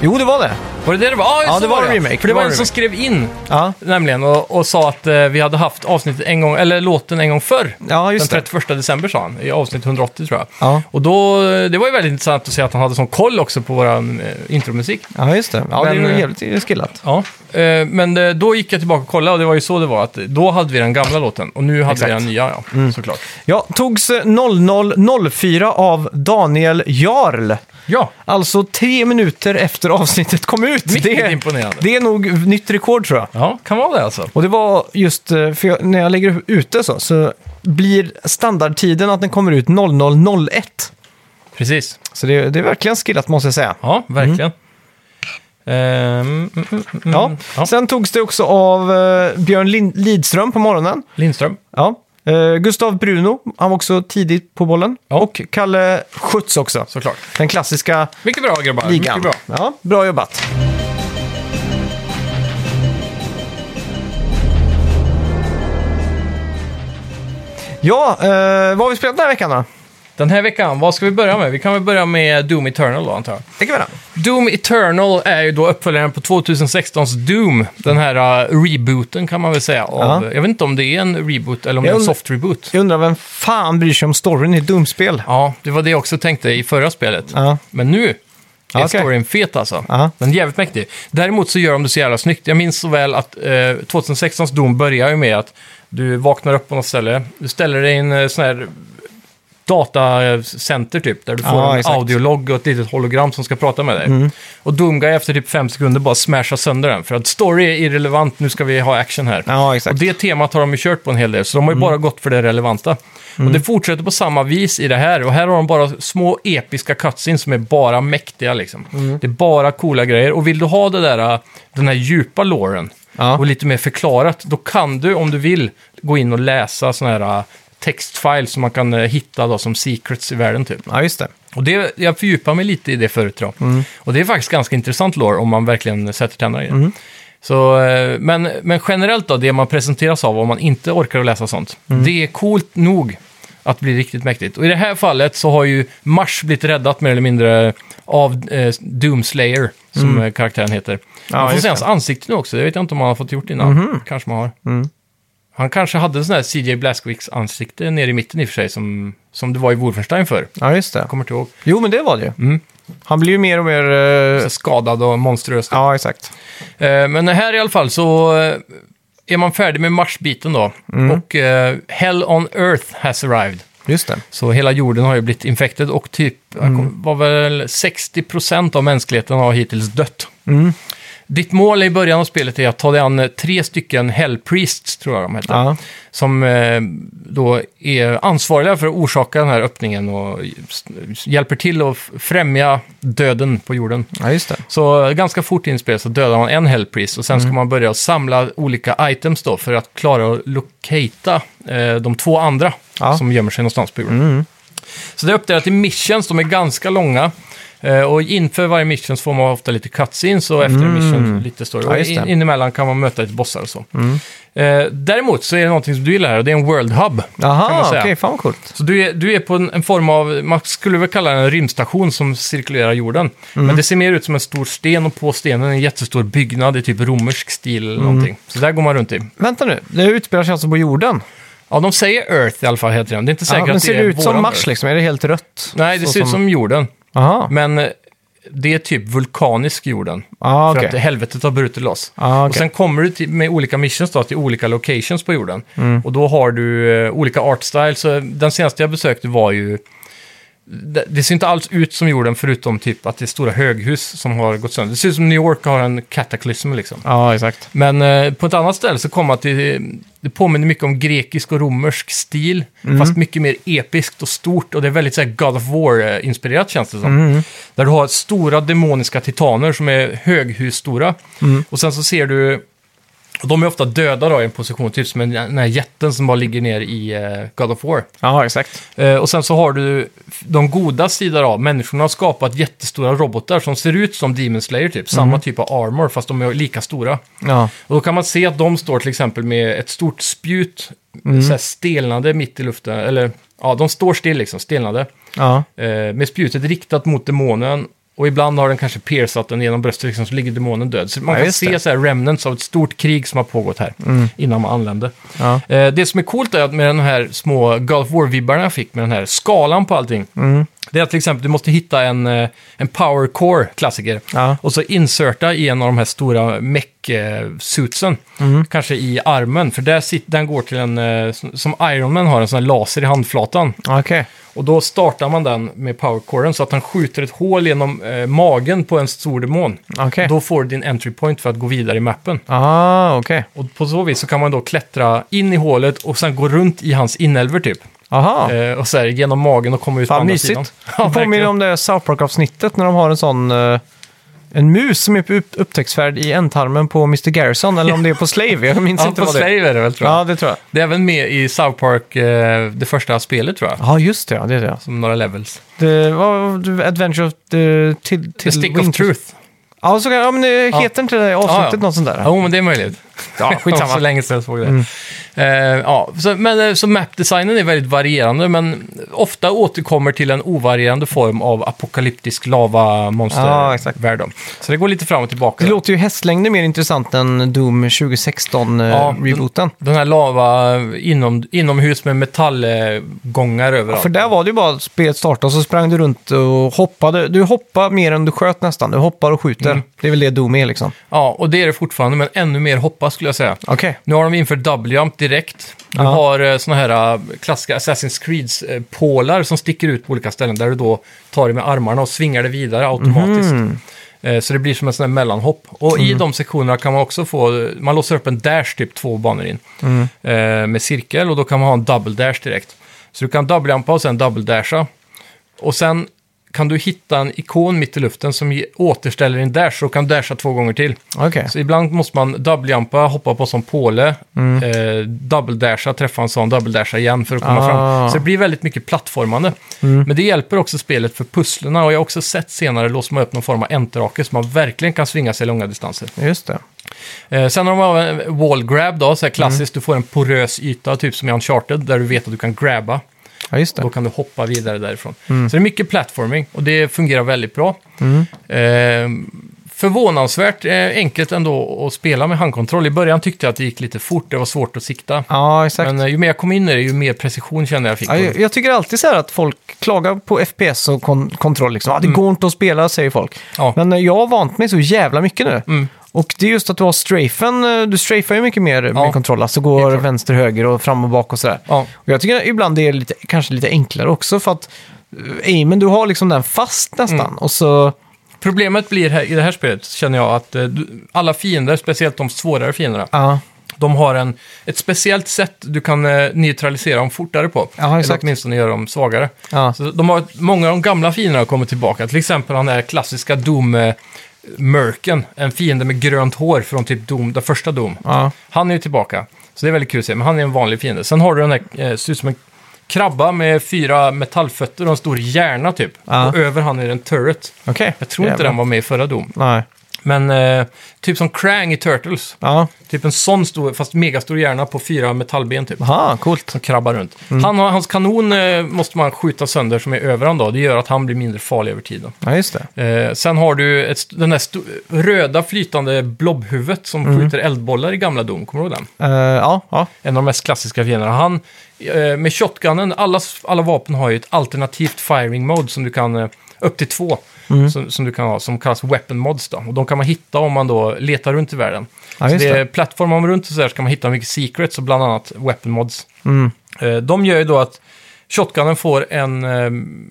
Jo, det var det. Var det det det var? Ah, Ja, så det var en det. remake. För Det det var var en en som skrev in, Ja, nämligen, och, och sa att eh, vi hade haft avsnittet en gång, eller låten en gång förr. ja Den just det. 31 december sa han, i avsnitt 180 tror jag. Ja. Och då, eh, det var ju väldigt intressant att se att han hade sån koll också på vår eh, intromusik. Ja, just det. Ja, Men, det är ju eh, jävligt skillat. Ja, eh, men eh, då gick jag tillbaka och kollade och det var ju så det var, att då hade vi den gamla låten och nu hade Exakt. vi den nya, ja, såklart. Ja, togs eh, 00.04 av Daniel Jarl. Ja, Alltså tre minuter efter avsnittet kom ut. Mycket imponerande. Det är nog nytt rekord tror jag. ja kan vara det alltså. Och det var just, eh, för jag, när jag lägger ute så, så blir standardtiden att den kommer ut 00.01. Precis. Så det, det är verkligen skillat måste jag säga. Ja, Mm. verkligen. Ehm, Mm. mm, mm, Ja. ja. Sen togs det också av eh, Björn Lin- Lidström på morgonen. Lindström. Ja. Eh, Gustav Bruno, han var också tidigt på bollen. Ja. Och Kalle Schütz också. Såklart. Den klassiska Mycket bra grabbar. ligan. Mycket bra. Ja, bra jobbat. Ja, eh, vad har vi spelat den här veckan då? Den här veckan, vad ska vi börja med? Vi kan väl börja med Doom Eternal då, antar jag. Det kan vi göra. Doom Eternal är ju då uppföljaren på 2016s Doom. Den här uh, rebooten kan man väl säga. Av, Ja. Jag vet inte om det är en reboot eller om Jag det är en und- soft reboot. Jag undrar vem fan bryr sig om storyn i ett Doom-spel? Ja, det var det jag också tänkte i förra spelet. Ja. Men nu är Ja, okej. storyn fet alltså. Ja. Den är jävligt mäktig. Däremot så gör de det så jävla snyggt. Jag minns så väl att eh, 2016s Doom börjar ju med att du vaknar upp på något ställe, du ställer dig i en eh, sån här datacenter typ, där du får Ja, en exakt. Mm. audiolog och ett litet hologram som ska prata med dig. Och Doom Guy efter typ fem sekunder bara smashar sönder den, för att story är irrelevant, nu ska vi ha action här. Ja, Och exakt. det temat har de ju kört på en hel del, så de har ju bara gått för det relevanta. Och det fortsätter på samma vis i det här, och här har de bara små episka cutscenes som är bara mäktiga liksom. Det är bara coola grejer, och vill du ha det där, äh, den här djupa låren Ja. och lite mer förklarat, då kan du om du vill gå in och läsa sådana här äh, textfiles som man kan äh, hitta då som secrets i världen typ. Ja, just det. Och det, jag fördjupar mig lite i det förut tror Mm. jag. Och det är faktiskt ganska intressant lore om man verkligen sätter tänderna i Mm. det. Så, eh, men, men generellt då, det man presenteras av om man inte orkar att läsa sånt, Mm. det är coolt nog att bli riktigt mäktigt. Och i det här fallet så har ju Mars blivit räddat mer eller mindre av eh, Doomslayer, som eh, karaktären heter. man får Mm. just se det. Mhm. hans ansikte nu också, det vet jag inte om man har fått gjort innan. Kanske man har. Mm. Han kanske hade sån här CJ Blazkowicz ansikte nere i mitten i och för sig, som, som det var i Wolfenstein förr. Ja, just det. Jag kommer inte ihåg. Jo, men det var det ju. Mm. Han blir ju mer och mer... eh, Så skadad och monstruös. ja, exakt. Eh, Men här i alla fall så eh, är man färdig med Mars-biten då. Och eh, Hell on Earth has arrived. Just det. Så hela jorden har ju blivit infected och typ jag kom- var väl 60% av mänskligheten har hittills dött. Ditt mål i början av spelet är att ta dig an eh, tre stycken Hell Priests, tror jag de heter. Ja. Som eh, då är ansvariga för att orsaka den här öppningen och s- hjälper till att f- främja döden på jorden. ja, just det. Så eh, ganska fort in i spelet så dödar man en Hellpriest och sen Mm. ska man börja samla olika items då för att klara att locata eh, de två andra Ja. Mm. som gömmer sig någonstans på jorden. Så det är uppdelat i missions, de är ganska långa. Eh, och inför varje mission så får man ofta lite cutscenes och efter mm. mission lite story. Ja, Och just det. Mm. in, inemellan kan man möta lite bossar och så. Eh, däremot så är det någonting som du gillar här och det är en World Hub. kan man Jaha, säga. okej. fan vad coolt. Så du är, du är på en, en form av, man skulle väl kalla det en rymdstation som cirkulerar jorden. Mm. Men det ser mer ut som en stor sten och på stenen en jättestor byggnad i typ romersk stil Mm. eller någonting. Så där går man runt i. Vänta nu, det utspelar sig alltså på jorden? Ja, de säger Earth i alla fall heter den. Det är inte säkert Ja, men att det ser är det ut som våran Mars Earth. liksom? Är det helt rött? Nej, det Så ser ut som jorden. Jaha. Men eh, det är typ vulkanisk jorden. Ah, För okej. att helvetet har brutit loss. Ah, Och okej. sen kommer du till, med olika missions då, till olika locations på jorden. Mm. Och då har du eh, olika art styles. Så Den senaste jag besökte var ju... Det, det ser inte alls ut som jorden förutom typ att det är stora höghus som har gått sönder. Det ser ut som New York har en kataklysm liksom. Ja, exakt. Men eh, på ett annat ställe så kom att det, det påminner mycket om grekisk och romersk stil. Fast mycket mer episkt och stort. Och det är väldigt så här, God of War-inspirerat känns det som. Där du har stora demoniska titaner som är höghusstora. Och sen så ser du... Och de är ofta döda då i en position, typ som en- den här jätten som bara ligger ner i eh, God of War. Ja, exakt. Eh, Och sen så har du f- de goda sidorna av människorna har skapat jättestora robotar som ser ut som Demon Slayer typ. Samma typ av armor fast de är lika stora. Ja, Och då kan man se att de står till exempel med ett stort spjut, Mm. så här stelnade mitt i luften. Eller ja, de står still liksom, stelnade. ja. Eh, med spjutet riktat mot demonen Och ibland har den kanske piercat den genom bröstet, liksom, så ligger demonen död. Så man Ja, kan just se det. Mm. så här remnants av ett stort krig som har pågått här innan man anlände. Ja. Eh, det som är coolt är att med de här små Gulf War-vibbarna jag fick med den här skalan på allting. Mm. Det är att till exempel du måste hitta en, eh, en power core klassiker Ja. och så inserta i en av de här stora mech-suitsen. Mm. Kanske i armen, för där sit, den går till en, eh, som- som Iron Man har, en sån här laser i handflatan. Okej. Och då startar man den med powercoren så att han skjuter ett hål genom eh, magen på en stor demon. Okej. Då får du din entry point för att gå vidare i mappen. Ah, okej. Och på så vis så kan man då klättra in i hålet och sen gå runt i hans inälvor typ. Aha. Eh, och så här genom magen och komma ut på Fan, andra mysigt. sidan. det påminner verkligen. om det South Park-avsnittet när de har en sån... eh, en mus som är på upp- upptäcktsfärd i ändtarmen på Mr. Garrison, eller om det är på Slave. Jag minns Ja, inte på vad det är. Slave är det väl tror jag. Ja, det tror jag. Det är även med i South Park, eh, det första spelet tror jag. Ja, just det. Ja, det, är det. Som några levels. det var Adventure of the... Till, till The Stick Winter- of Truth. Ja, så kan, ja men det heter inte det avsnittet Ja, ja. något sånt där? Jo, men det är möjligt. Ja, skitsamma. Mm. så länge sedan jag såg det. Eh, ja, så, men, eh, så mapdesignen är väldigt varierande, men ofta återkommer till en ovarierande form av apokalyptisk Ja, exakt. lavamonstervärld. då. så det går lite fram och tillbaka. Det låter ju hästlängden mer intressant än Doom eh, 2016-rebooten. Den här lava inom, inomhus med metallgångar överallt. För där var det ju bara att spelet startade och så sprang du runt och hoppade. Du hoppade mer än du sköt nästan. Du hoppar och skjuter. Det är väl det Doom är liksom. Ja, och det är det fortfarande, men ännu mer hoppas skulle jag säga. Okej. Nu har de infört double-jump direkt. Du Ja. har eh, såna här eh, klassiska Assassin's Creed-pålar som sticker ut på olika ställen där du då tar dig med armarna och svingar det vidare automatiskt. Eh, Så det blir som en sån här mellanhopp. Och i de sektionerna kan man också få, man låser upp en dash typ två banor in eh, med cirkel och då kan man ha en double dash direkt. Så du kan double-jumpa och sen double-dasha. Och sen kan du hitta en ikon mitt i luften som ge- återställer din dash och kan dasha två gånger till. Okej. Så ibland måste man double-jumpa, hoppa på som påle, eh, double-dasha, träffa en sån, double-dasha igen för att komma Ah. fram. Så det blir väldigt mycket plattformande. Men det hjälper också spelet för pusslerna och jag har också sett senare låser man upp någon form av enterhake så man verkligen kan svinga sig långa distanser. Just det. Eh, sen har man en wall grab då, så här klassiskt, du får en porös yta, typ som i Uncharted, där du vet att du kan grabba. Ja, just det. Då kan du hoppa vidare därifrån. Mm. Så det är mycket platforming och det fungerar väldigt bra. Eh, förvånansvärt eh, enkelt ändå att spela med handkontroll. I början tyckte jag att det gick lite fort, det var svårt att sikta. Ja, exakt. Men eh, ju mer jag kom in i det, ju mer precision kände jag fick. Ja, jag, jag tycker alltid så här att folk klagar på FPS och kon kontroll. Liksom. Ah, det går inte att spela, säger folk. Mm. Ja. Mm. Men eh, jag har vant mig så jävla mycket nu. Och det är just att du har strafen, eh, du strafar ju mycket mer Ja. med kontroll. Alltså går klart. vänster, höger och fram och bak och sådär. Ja. Och jag tycker ibland det är lite, kanske lite enklare också för att eh, aimen, du har liksom den fast nästan. Mm. Och så, Problemet blir här, i det här spelet, känner jag, att eh, du, alla fiender, speciellt de svårare fienderna, ja, de har en, ett speciellt sätt du kan eh, neutralisera dem fortare på. Ja, Eller exakt. åtminstone göra dem svagare. ja. Så de har, många av de gamla fienderna har kommit tillbaka. Till exempel han är klassiska Doom-mörken. En fiende med grönt hår från typ Doom, den första Doom. Ja. Han är ju tillbaka. Så det är väldigt kul att se, men han är en vanlig fiende. Sen har du den här, eh, ser ut som en krabba med fyra metallfötter och en stor hjärna typ. Ja. Och över han är det en turret. okej. Jag tror inte Jävlar. den var med i förra Doom. Nej. Men eh, typ som Krang i Turtles. Ja, Typ en sån stor, fast megastor hjärna på fyra metallben typ Aha, coolt. som krabbar runt. Han har, hans kanon eh, måste man skjuta sönder som är över han då. Det gör att han blir mindre farlig över tiden. Ja, just det. Eh, sen har du ett, st- den där sto- röda flytande blobhuvudet som skjuter eldbollar i gamla Dom. Kommer du ihåg den? Eh, ja, ja. En av de mest klassiska fienderna. Han, eh, med shotgunnen, alla, s- alla vapen har ju ett alternativt firing mode som du kan, eh, upp till två, Mm. som, som du kan ha, som kallas weapon mods då. Och de kan man hitta om man då letar runt i världen. Ja, så just det det. är plattformar man runt och så här så kan man hitta mycket secrets och bland annat weapon mods. Mm. Eh, De gör ju då att shotgunnen får en, eh,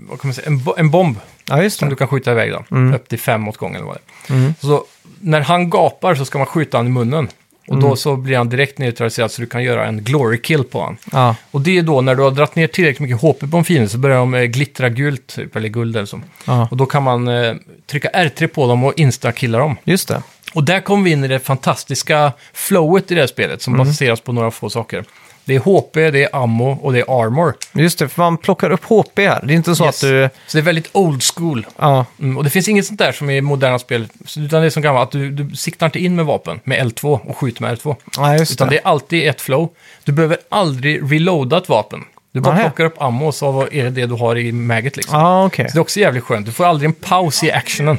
vad kan man säga, en, bo- en bomb ja, just som du det. kan skjuta iväg då. Mm. Upp till fem åt gången eller vad det är. Så när han gapar så ska man skjuta han i munnen. Och Mm. då så blir han direkt neutraliserad så du kan göra en glory kill på han. Ja. Och det är då när du har dratt ner tillräckligt mycket HP på en fiende så börjar de eh, glittra gult, typ, eller guld eller så. Ja. Och då kan man eh, trycka R3 på dem och insta-killa dem. Just det. Och där kom vi in i det fantastiska flowet i det här spelet som Mm. baseras på några få saker. Det är HP, det är ammo och det är armor. Just det, för man plockar upp HP här. Det är inte så Yes. att du... Så det är väldigt old school. Ja, Mm, och det finns inget sånt där som i moderna spel, utan det är som gammalt, att du, du siktar inte in med vapen, med L2 och skjuter med L2. ja just Utan det är alltid ett flow. Du behöver aldrig reloada ett vapen. Du bara Nähä. plockar upp ammo och så är det det du har i maget liksom. Ja, Ah, okej. Så det är också jävligt skönt. Du får aldrig en paus i actionen.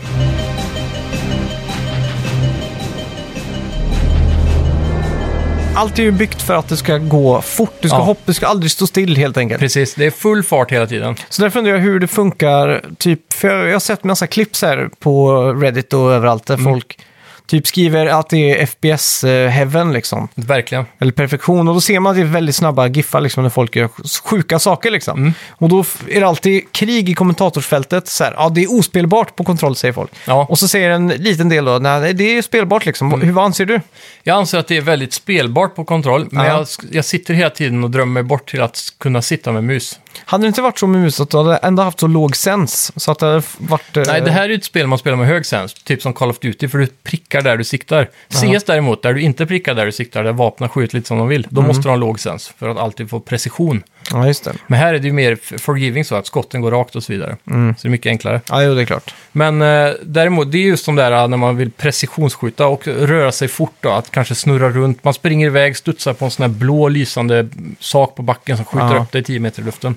Allt är ju byggt för att det ska gå fort. Du ska Ja. hoppa, du ska aldrig stå still helt enkelt. Precis, det är full fart hela tiden. Så därför undrar jag hur det funkar, typ, för jag, jag har sett massa klipp så här på Reddit och överallt där folk typ skriver att det är FPS-heaven liksom, Verkligen. eller perfektion. Och då ser man att det är väldigt snabba giffar liksom när folk gör sjuka saker liksom. Mm. Och då f- är det alltid krig i kommentatorsfältet, så här, ja det är ospelbart på kontroll säger folk. Ja. Mm. Och så säger en liten del då, nej det är spelbart liksom, hur vad anser du? Jag anser att det är väldigt spelbart på kontroll, men Ja. jag, jag sitter hela tiden och drömmer mig bort till att kunna sitta med mus. Hade det inte varit så med mus att du hade ändå haft så låg sens så att det hade f- varit... eh, Nej, det här är ju ett spel man spelar med hög sens, typ som Call of Duty, för du prickar där du siktar. CS däremot, där du inte prickar där du siktar, där vapnen skjuter lite som de vill, då måste du ha en låg sens för att alltid få precision. Ja, just det. Men här är det ju mer f- forgiving så att skotten går rakt och så vidare. Så det är mycket enklare. Ja, jo, det är klart. Men eh, däremot, det är just de där eh, när man vill precisionsskjuta och röra sig fort då, att kanske snurra runt. Man springer iväg, studsar på en sån här blå lysande sak på backen som skjuter Ja. upp dig 10 meter i luften.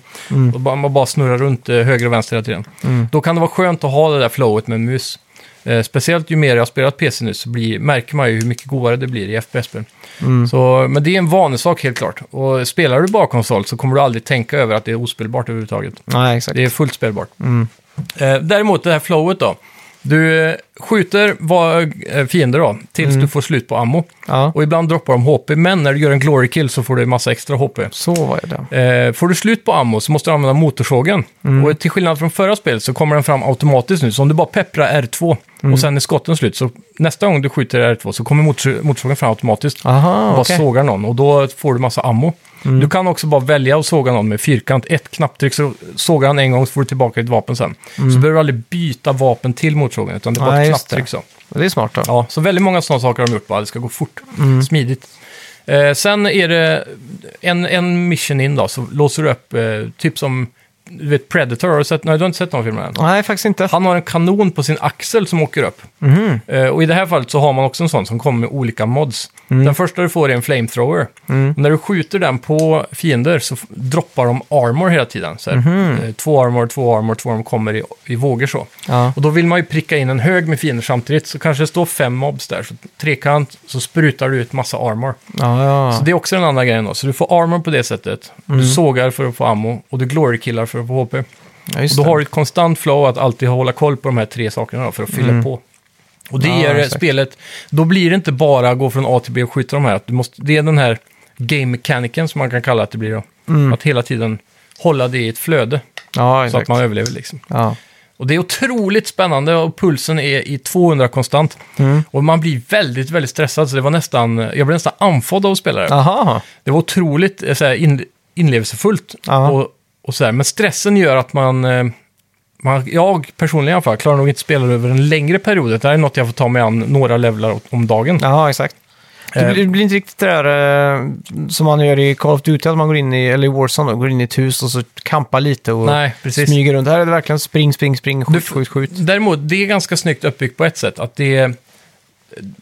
Och bara, man bara snurrar runt eh, höger och vänster hela tiden. Då kan det vara skönt att ha det där flowet med en mus. Eh, speciellt ju mer jag har spelat PC nu så blir, märker man ju hur mycket godare det blir i FPS-spel. Så, Men det är en vanesak helt klart. Och spelar du bara konsol så kommer du aldrig tänka över att det är ospelbart överhuvudtaget. Nej, exakt. Det är fullt spelbart. Eh, däremot det här flowet då. Du eh, skjuter va- eh, fiender då, tills du får slut på ammo. Ja. Och ibland droppar de HP, men när du gör en glory kill så får du en massa extra HP. Så var det. Eh, får du slut på ammo så måste du använda motorsågen. Och till skillnad från förra spelet så kommer den fram automatiskt nu. Så om du bara pepprar R2 och sen är skotten slut, så nästa gång du skjuter R2 så kommer motors- motorsågen fram automatiskt. Aha, Bara Ah, okej. Mm. sågar någon och då får du massa ammo. Du kan också bara välja att såga någon med fyrkant. Ett knapptryck så sågar han en gång så får du tillbaka ditt vapen sen. Så du behöver du aldrig byta vapen till motorsågen utan det är bara Mm. Nej, ett just det. knapptryck. Så. Det är smart då. Ja, så väldigt många sådana saker har de gjort bara. Det ska gå fort, Mm. smidigt. Eh, sen är det en, en mission in då, så låser du upp, eh, typ som du vet Predator, har du sett? Nej, du har inte sett någon film än. Nej, faktiskt inte. Han har en kanon på sin axel som åker upp. Mhm. Eh, och i det här fallet så har man också en sån som kommer med olika mods. Mm. Den första du får är en flamethrower. Och när du skjuter den på fiender så f- droppar de armor hela tiden. Så här, Mhm. eh, två armor, två armor, två armor kommer i, i vågor så. Ja. Och då vill man ju pricka in en hög med fiender samtidigt. Så kanske det står fem mobs där. Så trekant, så sprutar du ut massa armor. Ja, ja. Mm. Så det är också den andra grejen då. Så du får armor på det sättet. Du sågar för att få ammo och du glory-killar för att få HP. ja just Och då det. har du ett konstant flow att alltid hålla koll på de här tre sakerna då, för att fylla på. Och det Mm. Ja, ger exakt. spelet, då blir det inte bara gå från A till B och skjuta de här. Att Du måste, det är den här game mechaniken som man kan kalla att det blir då. Att hela tiden hålla det i ett flöde Ja, så att Mm. exakt. man överlever liksom. Ja. Och det är otroligt spännande och pulsen är i 200 konstant. Mm. Och man blir väldigt, väldigt stressad så det var nästan, jag blev nästan andfådd av att spela det. Aha. Det var otroligt eh, så här, in, inlevelsefullt. Ja. Och, och så här. Men stressen gör att man, eh, man... Jag personligen i alla fall klarar nog inte spela över en längre period. Det här är något jag får ta mig an några levlar åt- om dagen. ja, exakt. Det Eh. blir, det blir inte riktigt det där eh, som man gör i Call of Duty, att man går in i, eller i Warzone, då, går in i ett hus och så kampar lite och Nej, precis. smyger runt. Här är det verkligen spring, spring, spring, Du skjut, f- skjut, skjut. Däremot, det är ganska snyggt uppbyggt på ett sätt. Att det är,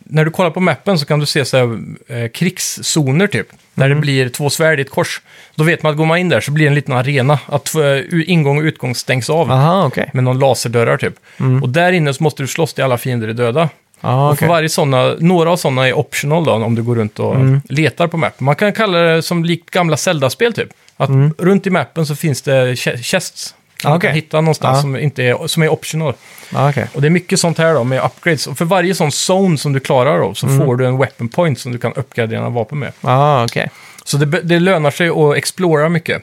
när du kollar på mappen så kan du se så här, eh, krigszoner typ. Där Mm. det blir två svärd i ett kors. Då vet man att går man in där så blir det en liten arena. Att eh, ingång och utgång stängs av. Aha, okej. med någon laserdörrar typ. Mm. Och där inne så måste du slåss till alla fiender är döda. Ja, Och för okej. varje såna, några av sådana är optional då, om du går runt och Mm. letar på mappen. Man kan kalla det som likt gamla Zelda-spel typ. Att runt i mappen så finns det che- chests. Ah, Som du Mm. okej. kan hitta någonstans Ja. som, inte är, som är optional. Ja, okej. Och det är mycket sånt här då med upgrades. Och för varje sån zone som du klarar då Mm. så får du en weapon point som du kan uppgradera dina vapen med. Ja, okej. Så det, be- det lönar sig att explora mycket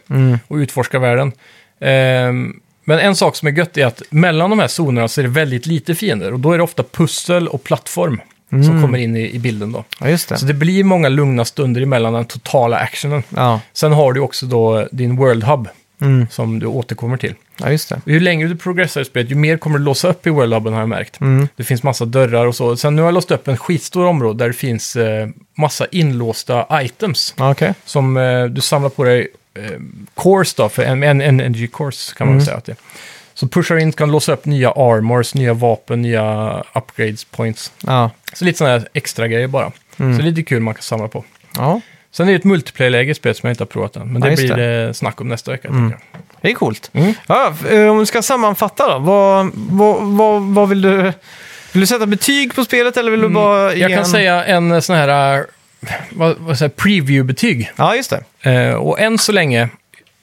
och utforska världen. Ehm, men en sak som är gött är att mellan de här zonerna så är det väldigt lite fiender. Och då är det ofta pussel och plattform som kommer in i, i bilden då. Ja, just det. Så det blir många lugna stunder emellan den totala actionen. Ja. Sen har du också då din World Hub Mm. som du återkommer till. ja, just det. Och Ju längre du progressar i spelet, ju mer kommer du låsa upp i World Hubben har jag märkt. Det finns massa dörrar och så. Sen nu har jag låst upp en skitstor område där det finns eh, massa inlåsta items Ja, Okej. som eh, du samlar på dig eh, cores då, för en, en, en energy course kan man Mm. väl säga att det är. Så pushar du in kan låsa upp nya armors, nya vapen, nya upgrades points. Ja. Mm. Så lite sådana här extra grejer bara. Så det är lite kul man kan samla på. Ja. Sen är det ett multiplayer-läge i spelet som jag inte har provat än. Men Ja, det just Mm. blir det. snack om nästa vecka. tänker jag. Det är coolt. Mm. Ja, eh, om du ska sammanfatta då, vad, vad, vad, vad vill du... Vill du sätta betyg på spelet eller vill du bara... Mm, Jag ge kan en- säga en eh, sån här, eh, vad, vad säger jag, preview-betyg. Ja, just det. Eh, och än så länge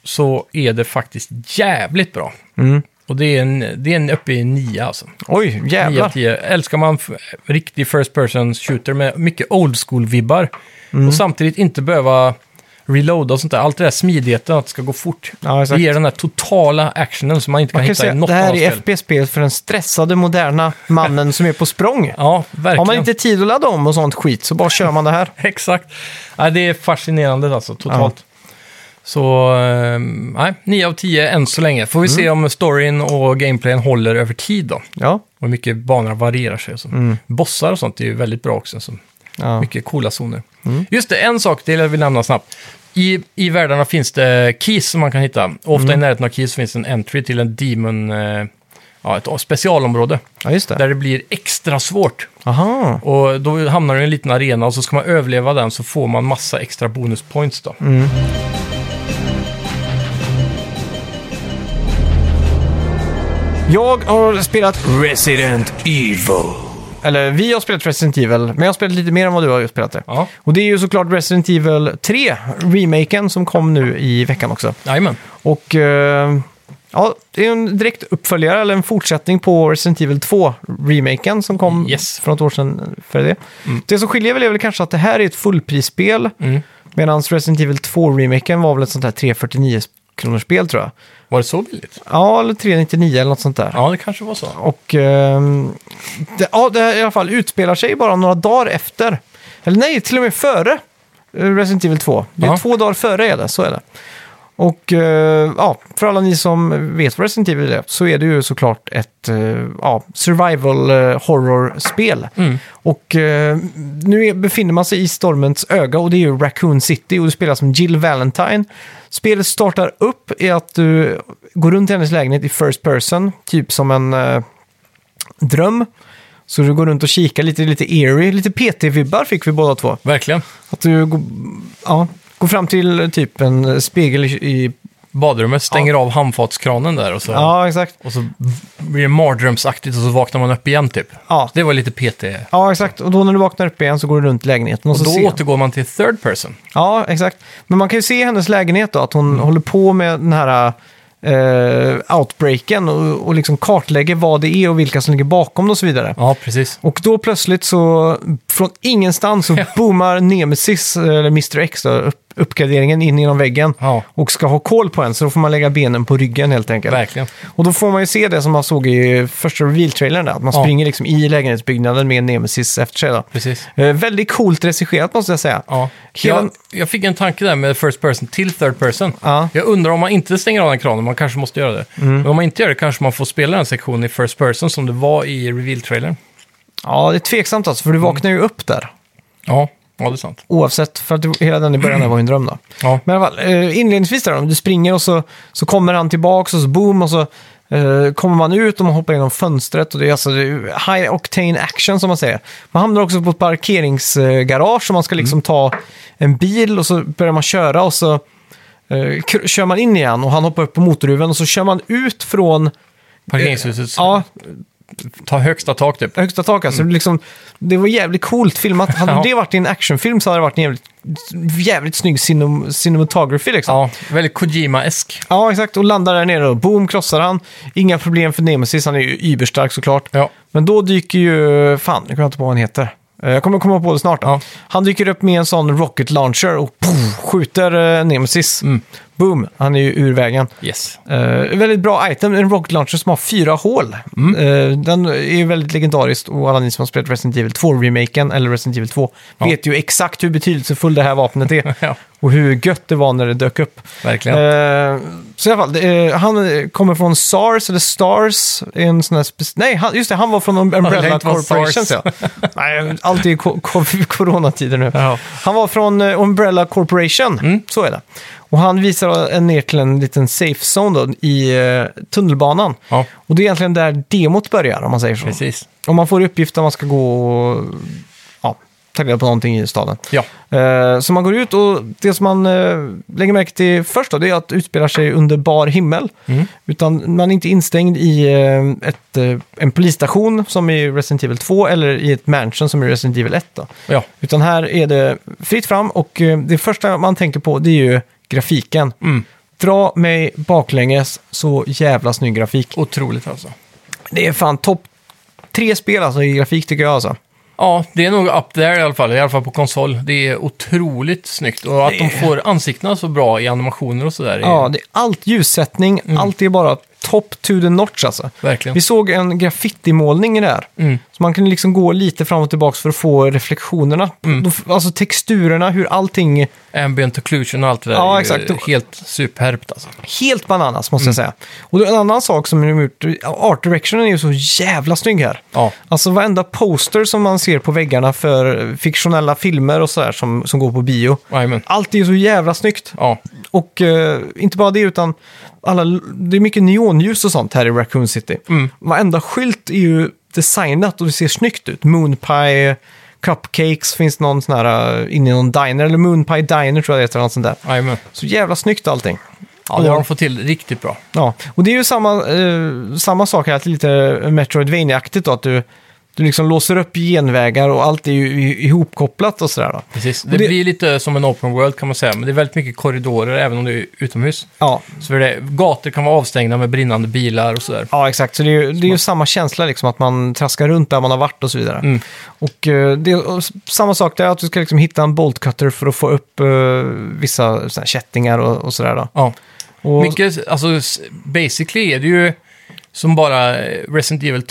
så är det faktiskt jävligt bra. Mm. Och det är, en, det är en uppe i nio alltså. Oj, Nio av jävlar. tio. Älskar man f- riktig first person shooter med mycket old school-vibbar. Mm. Och samtidigt inte behöva reloada och sånt där. Allt det där smidigheten, att det ska gå fort. Ja, det exakt. ger den där totala actionen som man inte kan, Man kan hitta säga i något att det här annat är spel. FP-spel för den stressade, moderna mannen som är på språng. Ja, verkligen. Har man inte tid att ladda om och sånt skit så bara kör man det här. Exakt. Ja, det är fascinerande alltså, totalt. Så, eh, nej, 9 av 10 än så länge. Får vi Mm. se om storyn och gameplayen håller över tid då. Ja. Och hur mycket banorna varierar sig. och Så. Mm. Bossar och sånt är ju väldigt bra också. Så. ja. Mycket coola zoner. Just det, en sak till jag vill nämna snabbt. I, I världarna finns det keys som man kan hitta. Och Ofta i närheten av keys finns en entry till en demon, eh, ja, ett specialområde. ja, just det. Där det blir extra svårt. Aha. Och då hamnar du i en liten arena och så ska man överleva den så får man massa extra bonuspoints då. Jag har spelat, Resident Evil. eller vi har spelat Resident Evil, men jag har spelat lite mer än vad du har spelat det. Ja, Och det är ju såklart Resident Evil 3, remaken, som kom nu i veckan också. jajamän. Och eh, ja, det är en direkt uppföljare eller en fortsättning på Resident Evil 2-remaken som kom Yes. för något år sedan. För det. det som skiljer väl är väl kanske att det här är ett fullprisspel Mm. medan Resident Evil 2-remaken var väl ett sånt här 349 kronors spel tror jag. Var det så billigt? Ja, eller 399 eller något sånt där. Ja, det kanske var så. Och ehm, det, ja, det här i alla fall utspelar sig bara några dagar efter. Eller nej, till och med före eh, Resident Evil 2. Det är Ja. två dagar före är det, så är det. Och eh, ja, för alla ni som vet vad Resident Evil är så är det ju såklart ett eh, ja, survival eh, horror-spel. Mm. Och eh, nu är, befinner man sig i stormens öga och det är ju Raccoon City och du spelar som Jill Valentine. Spelet startar upp i att du går runt i hennes lägenhet i first person, typ som en eh, dröm. Så du går runt och kikar lite, lite eerie, lite PT-vibbar fick vi båda två. Verkligen. Att du går, ja, går fram till eh, typ en spegel i... i Badrummet stänger av handfatskranen där och så, ja, exakt. och så blir det mardrömsaktigt och så vaknar man upp igen typ. Ja. Det var lite PT. ja, exakt. Och då när du vaknar upp igen så går du runt lägenheten och, Och så då ser återgår man till third person. Ja, exakt. Men man kan ju se i hennes lägenhet då, att hon Mm. håller på med den här eh, outbreaken och, och liksom kartlägger vad det är och vilka som ligger bakom det och så vidare. Ja, precis. Och då plötsligt så, från ingenstans, så boomar Nemesis, eller Mr X, då, upp, uppgraderingen in genom väggen. Ja, Och ska ha koll på en, så då får man lägga benen på ryggen helt enkelt. verkligen. Och då får man ju se det som man såg i första reveal-trailern, där, att man Ja. springer liksom i lägenhetsbyggnaden med Nemesis efter sig. Då. Precis. Eh, väldigt coolt regisserat måste jag säga. Ja. Hela- Jag, jag fick en tanke där med first person till third person. Ja. Jag undrar om man inte stänger av den kranen, man kanske måste göra det. Men om man inte gör det kanske man får spela den sektionen i first person som det var i reveal-trailern. Ja, det är tveksamt alltså, för Mm. du vaknar ju upp där. Ja, ja det är sant. Oavsett, för att det- hela den i början där var ju en dröm då. Ja. Men i alla fall, eh, inledningsvis där, om du springer och så, så kommer han tillbaks och så boom och så eh, kommer man ut och man hoppar genom fönstret och det är alltså det är high octane action som man säger. Man hamnar också på ett parkeringsgarage och man ska liksom ta en bil och så börjar man köra och så eh, kr- kör man in igen och han hoppar upp på motorhuven och så kör man ut från Parkeringshuset ja, ta högsta tak typ. högsta tak. Alltså, liksom, det var jävligt coolt filmat. Hade Ja. det varit i en actionfilm så hade det varit en jävligt, jävligt snygg cinem- cinematography. Liksom. Ja. Ja, väldigt Kojima-esk. exakt. Och landar där nere och boom, krossar han. Inga problem för Nemesis, han är ju yberstark såklart. Ja. Men då dyker ju, fan, nu kommer jag inte på vad han heter. Eh, Jag kommer komma på det snart. då. Ja. Han dyker upp med en sån rocket launcher och poff, skjuter eh, Nemesis. Mm. Boom, han är ju ur vägen. Yes. Eh, väldigt bra item, en rocket launcher som har fyra hål. Mm. Eh, den är ju väldigt legendarisk och alla ni som har spelat Resident Evil 2-remaken eller Resident Evil 2 vet ju exakt hur betydelsefull det här vapnet är Ja, och hur gött det var när det dök upp. verkligen. Eh, så i alla fall, eh, han eh, kommer från SARS eller STARS. En sån här spec- Nej, han, just det, han var från Um- det Umbrella inte var Corporation. SARS. Ja. Nej, allt är ko- ko- coronatider nu. Ja. Han var från eh, Umbrella Corporation, Mm. så är det. Och han visar en ner till en liten safe zone då, i eh, tunnelbanan. Ja. Och det är egentligen där demot börjar, om man säger så. Precis. Om man får i uppgift att man ska gå och ja, ta reda på någonting i staden. Ja. Eh, Så man går ut och det som man eh, lägger märke till först då, det är att det utspelar sig under bar himmel. Mm. Utan man är inte instängd i eh, ett, eh, en polisstation som i Resident Evil 2 eller i ett mansion som i Resident Evil 1. Då. Ja. Utan här är det fritt fram och eh, det första man tänker på det är ju grafiken. Mm. Dra mig baklänges, så jävla snygg grafik. Otroligt alltså. Det är fan topp tre spel alltså, i grafik tycker jag alltså. Ja, det är nog up there i alla fall, i alla fall på konsol. Det är otroligt snyggt. Och att de får ansiktena så bra i animationer och sådär. är- Mm. Ja, det är allt ljussättning, allt är bara top to the notch alltså. Verkligen. Vi såg en graffitimålning i det här. Mm. Så man kunde liksom gå lite fram och tillbaka för att få reflektionerna. Mm. Då f- Alltså texturerna, hur allting... Ambient occlusion och allt det där Ja, är ju exakt. helt superbt alltså. Helt bananas måste jag säga. Mm. Och då en annan sak som de gjort, art directionen är ju så jävla snygg här. Ja, Alltså varenda poster som man ser på väggarna för fiktionella filmer och sådär som, som går på bio. jajamän. Allt är ju så jävla snyggt. Ja, Och eh, inte bara det, utan alla, det är mycket neonljus och sånt här i Raccoon City. Mm. Varenda skylt är ju designat och det ser snyggt ut. Moonpie, cupcakes, finns någon sån här eh, inne i någon diner, eller Moonpie Diner tror jag det heter, eller något sånt där. jajamän. Så jävla snyggt allting. Ja, det har de fått till riktigt bra. Ja, och det är ju samma, eh, samma sak här, att lite Metroidvania-aktigt då, att du, du liksom låser upp genvägar och allt är ju i- ihopkopplat och sådär. Då. Precis. Det, Och det- blir lite som en open world kan man säga, men det är väldigt mycket korridorer även om det är utomhus. Ja, Så det, gator kan vara avstängda med brinnande bilar och sådär. Ja, exakt. Så det är, ju, det är ju samma känsla, liksom, att man traskar runt där man har varit och så vidare. Mm. Och, eh, det, är- och s- samma sak där, att du ska liksom hitta en bolt cutter för att få upp eh, vissa såna här kättingar och, och sådär. Då. Ja. Och, Mycket, alltså s- basically är det ju som bara eh, Resident Evil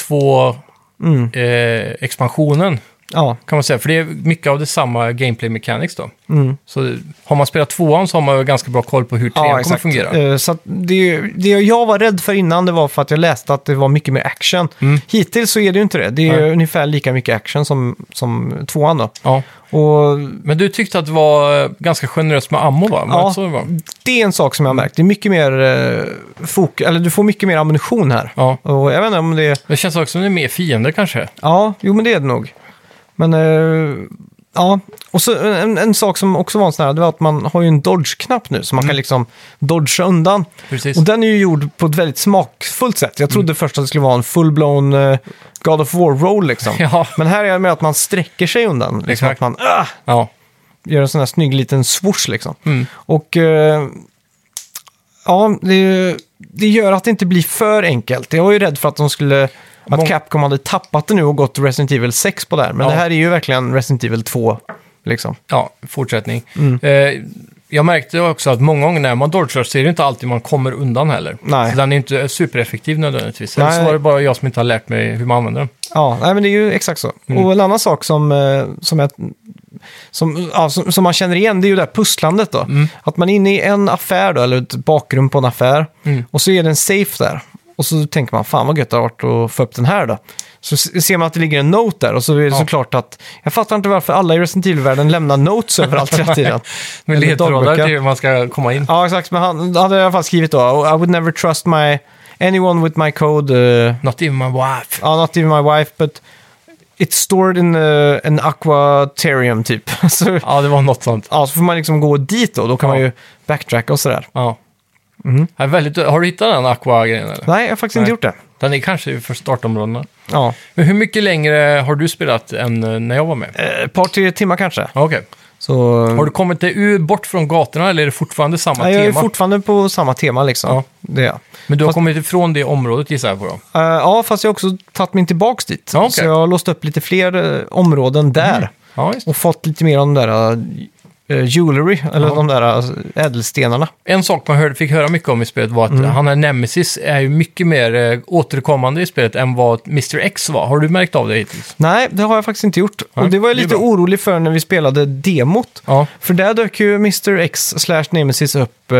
Mm. 2-expansionen. Ja, kan man säga, för det är mycket av det samma gameplay mechanics då. mm. Så har man spelat tvåan så har man ju ganska bra koll på hur trean ja kommer att exakt. fungera. Eh, så att det, är ju- det jag var rädd för innan det var för att jag läste att det var mycket mer action. Hittills så är det ju inte det. Det är ju Mm. Nej. ungefär lika mycket action som, som tvåan då. Ja. Och Men du tyckte att det var eh, ganska generöst med ammo va? Var det Ja. inte så det var? det är en sak som jag har märkt. Det är mycket mer eh, fok- eller du får mycket mer ammunition här. Ja. Och jag vet inte om det är Det känns också som det är mer fiender kanske. Ja, jo men det är det nog. Men, eh, ja. Och så eh, en, en sak som också var en sån här, det var att man har ju en dodge-knapp nu, så man kan liksom dodga undan. Mm. Precis. Mm. Och den är ju gjord på ett väldigt smakfullt sätt. Jag trodde först att det skulle vara en full-blown eh, God of War-roll liksom. Ja. Men här är det med att man sträcker sig undan. Liksom Exakt. att man ah, Ja. gör en sån här snygg liten swoosh liksom. Mm. Och eh, ja, det, det gör att det inte blir för enkelt. Jag var ju rädd för att de skulle... Att Mång- Capcom hade tappat det nu och gått Resident Evil 6 på det här. Men Ja. det här är ju verkligen Resident Evil 2. Liksom. ja, fortsättning. Mm. Eh, jag märkte också att många gånger när man dodgar så är det inte alltid man kommer undan heller. Nej. Så den är inte supereffektiv nödvändigtvis. Nej. Eller så var det bara jag som inte har lärt mig hur man använder den. Ja, nej, men det är ju exakt så. Mm. Och en annan sak som, eh, som, jag, som, ja, som, som man känner igen, det är ju det här pusslandet då. Mm. Att man är inne i en affär då, eller ett bakrum på en affär, Mm. och så är det en safe där. Och så tänker man, fan vad gött det har varit att få upp den här då. Så s- ser man att det ligger en note där och så är det såklart att... Jag fattar inte varför alla i Resident Evil-världen lämnar notes överallt hela tiden. Med Eller ledtrådar dagböcker. till hur man ska komma in. Ja, exakt. Men han hade i alla fall skrivit då, I would never trust my... Anyone with my code... eh, Not even my wife. Ja, not even my wife, but it's stored in uh, an aquatarium typ. så, Ja, det var något sånt. ja, så får man liksom gå dit då, då kan Ja. man ju backtracka och sådär. Ja. Ja, väldigt, har du hittat den Aqua-grejen eller? Mm. Nej, jag har faktiskt inte Nej. gjort det. Den är kanske för startområdena. Ja, Men hur mycket längre har du spelat än eh, när jag var med? Eh, ett par, tre timmar kanske. Okej. Så, Har du kommit dig ur, bort från gatorna eller är det fortfarande samma Nej, jag är tema? fortfarande på samma tema liksom. Ja. Det är jag. Men du har Fast- kommit ifrån det området gissar jag på då? Eh, ja, fast jag har också tagit mig tillbaks dit. Ja, okej. Mhm. Så jag har låst upp lite fler eh, områden där. Ja, just det. Och fått lite mer om de där uh, jewelry, eller de där eh, ädelstenarna. En sak man hörde, fick höra mycket om i spelet var att Mm. han är Nemesis är ju mycket mer eh, återkommande i spelet än vad Mr. X var. Har du märkt av det hittills? Nej, det har jag faktiskt inte gjort. Nej, och det var jag det är lite bra. orolig för när vi spelade demot. Ja. För där dök ju Mr. X slash Nemesis upp eh,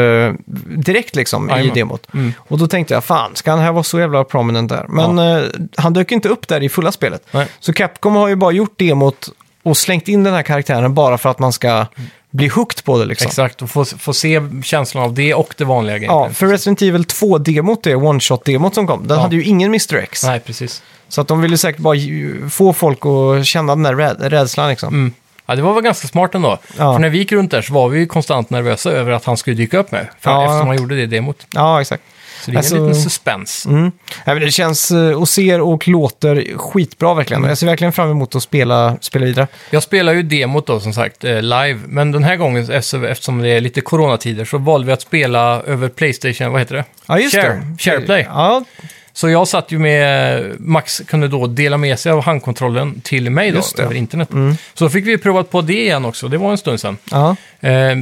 direkt liksom i Jajamän. Mm. demot. Och då tänkte jag, fan, ska han här vara så jävla prominent där? Men eh, han dök inte upp där i fulla spelet. Nej. Så Capcom har ju bara gjort demot och slängt in den här karaktären bara för att man ska bli hooked på det liksom. Exakt, och få, få se känslan av det och det vanliga Ja, gameplay. för Resident Evil 2-demot, det one-shot-demot som kom, den Ja. hade ju ingen Mr. X. Nej, precis. Så att de ville säkert bara ju- få folk att känna den där rä- rädslan liksom. Mm. Ja, det var väl ganska smart ändå. Ja. För när vi gick runt där så var vi ju konstant nervösa över att han skulle dyka upp med. För Ja. Eftersom han gjorde det i demot. Ja, exakt. Så det är Alltså- en liten suspens. Mm. Ja, men det känns eh, och ser och låter skitbra verkligen. Mm. Jag ser verkligen fram emot att spela, spela vidare. Jag spelar ju demot då som sagt eh, live. Men den här gången eftersom eftersom det är lite coronatider så valde vi att spela över Playstation, vad heter det? Ja, just Share, det. SharePlay. Ja, Så jag satt ju med, Max kunde då dela med sig av handkontrollen till mig Just då, det. Mm. över internet. Så då fick vi provat på det igen också, det var en stund sedan. ja, Eh,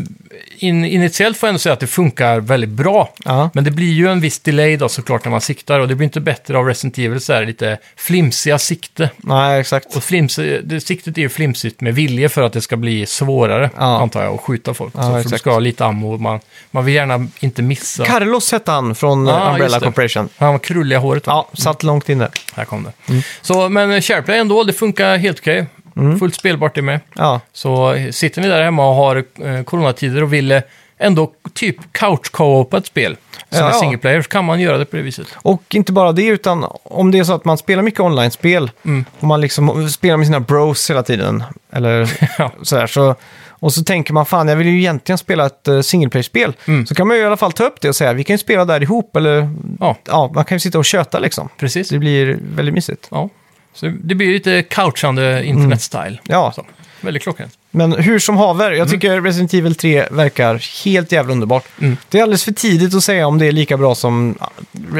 in, initiellt får jag ändå säga att det funkar väldigt bra. ja. Men det blir ju en viss delay då såklart när man siktar och det blir inte bättre av Resident Evil så här lite flimsiga sikte. Nej, exakt. Och flimsi, det, siktet är ju flimsigt med vilje för att det ska bli svårare, Ja. antar jag, att skjuta folk. Ja, så för du exakt. ska ha lite ammo, och man, man vill gärna inte missa. Carlos hette han från eh, Ja, Umbrella just det. Corporation. Han var krulliga håret va? Ja, Mm. satt långt inne. Här kom det. Så, men eh, SharePlay ändå, det funkar helt okej. Mm. Fullt spelbart det med. Ja, Så eh, sitter ni där hemma och har eh, coronatider och vill eh, ändå typ couch co-op ett spel som Ja. är single player så kan man göra det på det viset. och inte bara det, utan om det är så att man spelar mycket online-spel Mm. och man liksom spelar med sina bros hela tiden, eller Ja. sådär, så, och så tänker man, fan jag vill ju egentligen spela ett uh, single player-spel. Mm. Så kan man ju i alla fall ta upp det och säga, vi kan ju spela där ihop, eller ja, ja, man kan ju sitta och köta liksom. precis. Det blir väldigt mysigt. Ja. Så det blir lite couchande internet-style. Mm. Ja, Så, väldigt klockrent. men hur som haver, Mm. jag tycker Resident Evil 3 verkar helt jävla underbart. Mm. Det är alldeles för tidigt att säga om det är lika bra som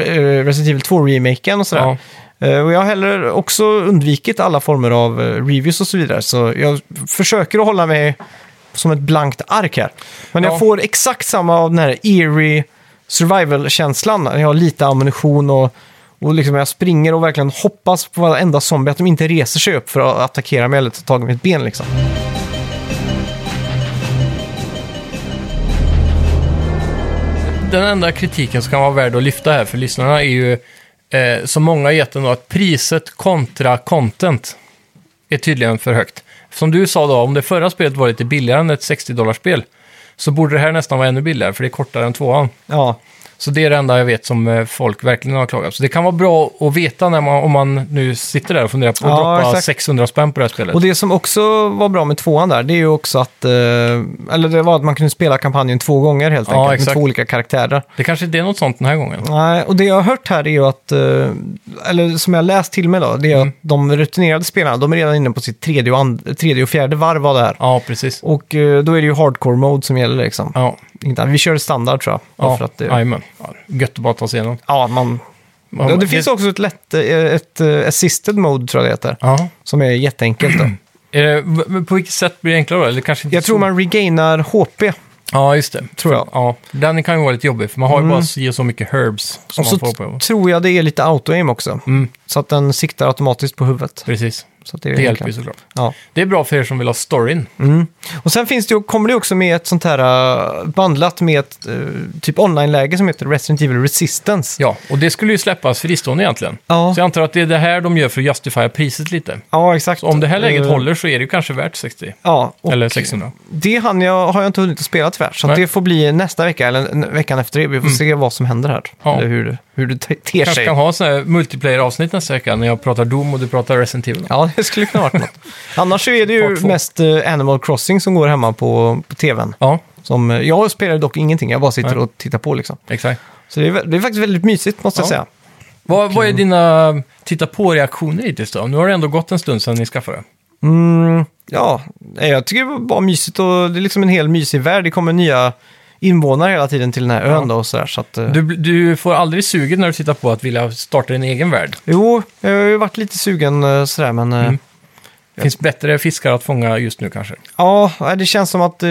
eh, Resident Evil 2-remaken och sådär. Ja. Eh, Och jag har heller också undvikit alla former av eh, reviews och så vidare. Så jag försöker att hålla mig som ett blankt ark här. Men jag Ja. får exakt samma av den här eerie survival-känslan. när Jag har lite ammunition och, och liksom jag springer och verkligen hoppas på varenda zombie att de inte reser sig upp för att attackera mig eller ta tag i mitt ben liksom. Den enda kritiken som kan vara värd att lyfta här för lyssnarna är ju, eh, som många har gett ändå, att priset kontra content är tydligen för högt. Som du sa då, om det förra spelet var lite billigare än ett 60-dollarspel så borde det här nästan vara ännu billigare, för det är kortare än tvåan. Ja, Så det är det enda jag vet som eh, folk verkligen har klagat. Så det kan vara bra att veta när man, om man nu sitter där och funderar på att Ja, droppa exakt. 600 spänn på det här spelet. och det som också var bra med tvåan där, det är ju också att... Eh, eller det var att man kunde spela kampanjen två gånger helt Ja, enkelt, med exakt. två olika karaktärer. det kanske inte är något sånt den här gången. Nej, och det jag har hört här är ju att, eh, eller som jag läst till mig då, det är Mm. att de rutinerade spelarna, de är redan inne på sitt tredje och, and- tredje och fjärde varv av det här. Ja, precis. Och eh, då är det ju hardcore mode som gäller liksom. Ja, Inte- Vi kör standard tror jag. bara ja, för att det, jajamän. ja gött att bara ta sig igenom. ja, man, Ja, ja, det men- finns också ett lätt, eh, ett eh, assisted mode tror jag det heter. Ja. Som är jätteenkelt då. Är det, v- men på vilket sätt blir det enklare då? Eller kanske inte Jag tror så- man regainar HP. Ja, just det. Tror jag. Mm. Ja, den kan ju vara lite jobbig, för man har ju bara si och så mycket herbs som Och så man får på. t- tror jag det är lite auto-aim också. Så att den siktar automatiskt på huvudet. Precis, Så att det är Mm. det hjälper ju enklare. såklart. Ja. Det är bra för er som vill ha storyn. Och sen finns det, ju- kommer det också med ett sånt här eh, bandlat med ett eh, typ online-läge som heter Resident Evil Resistance. Ja, och det skulle ju släppas fristående egentligen. Ja. Så jag antar att det är det här de gör för att justifiera priset lite. Ja, exakt. Så om det här läget Eh, håller så är det ju kanske värt 60. Ja, och Eller 600. det hann jag, har jag inte hunnit att spela tyvärr. Så att Nej. Mm. det får bli nästa vecka eller en- veckan efter det. Vi får se vad som händer här. Ja. Eller hur, det- hur det te- ter Kanske sig. kan ha sådana här multiplayer-avsnitt nästa vecka när jag pratar Doom och du pratar Resident Evil. Ja, det skulle kunna vara något. Annars så är det Part ju två. mest eh, Animal Crossing som går hemma på, på tvn. Ja, Som, eh, jag spelar dock ingenting, jag bara sitter Nej. och tittar på liksom. exakt. Så det är, vä- det är faktiskt väldigt mysigt måste jag Ja. säga. Vad, vad är dina titta på-reaktioner hittills då? Nu har det ändå gått en stund sedan ni skaffade det. Mm, ja, nej, jag tycker det var bara mysigt och det är liksom en hel mysig värld. Det kommer nya invånare hela tiden till den här ön då och sådär. Så att, eh, Du, du får aldrig suget när du tittar på att vilja starta din egen värld. Jo, jag har ju varit lite sugen eh, sådär men eh, Det finns bättre fiskar att fånga just nu kanske. ja, nej, det känns som att eh,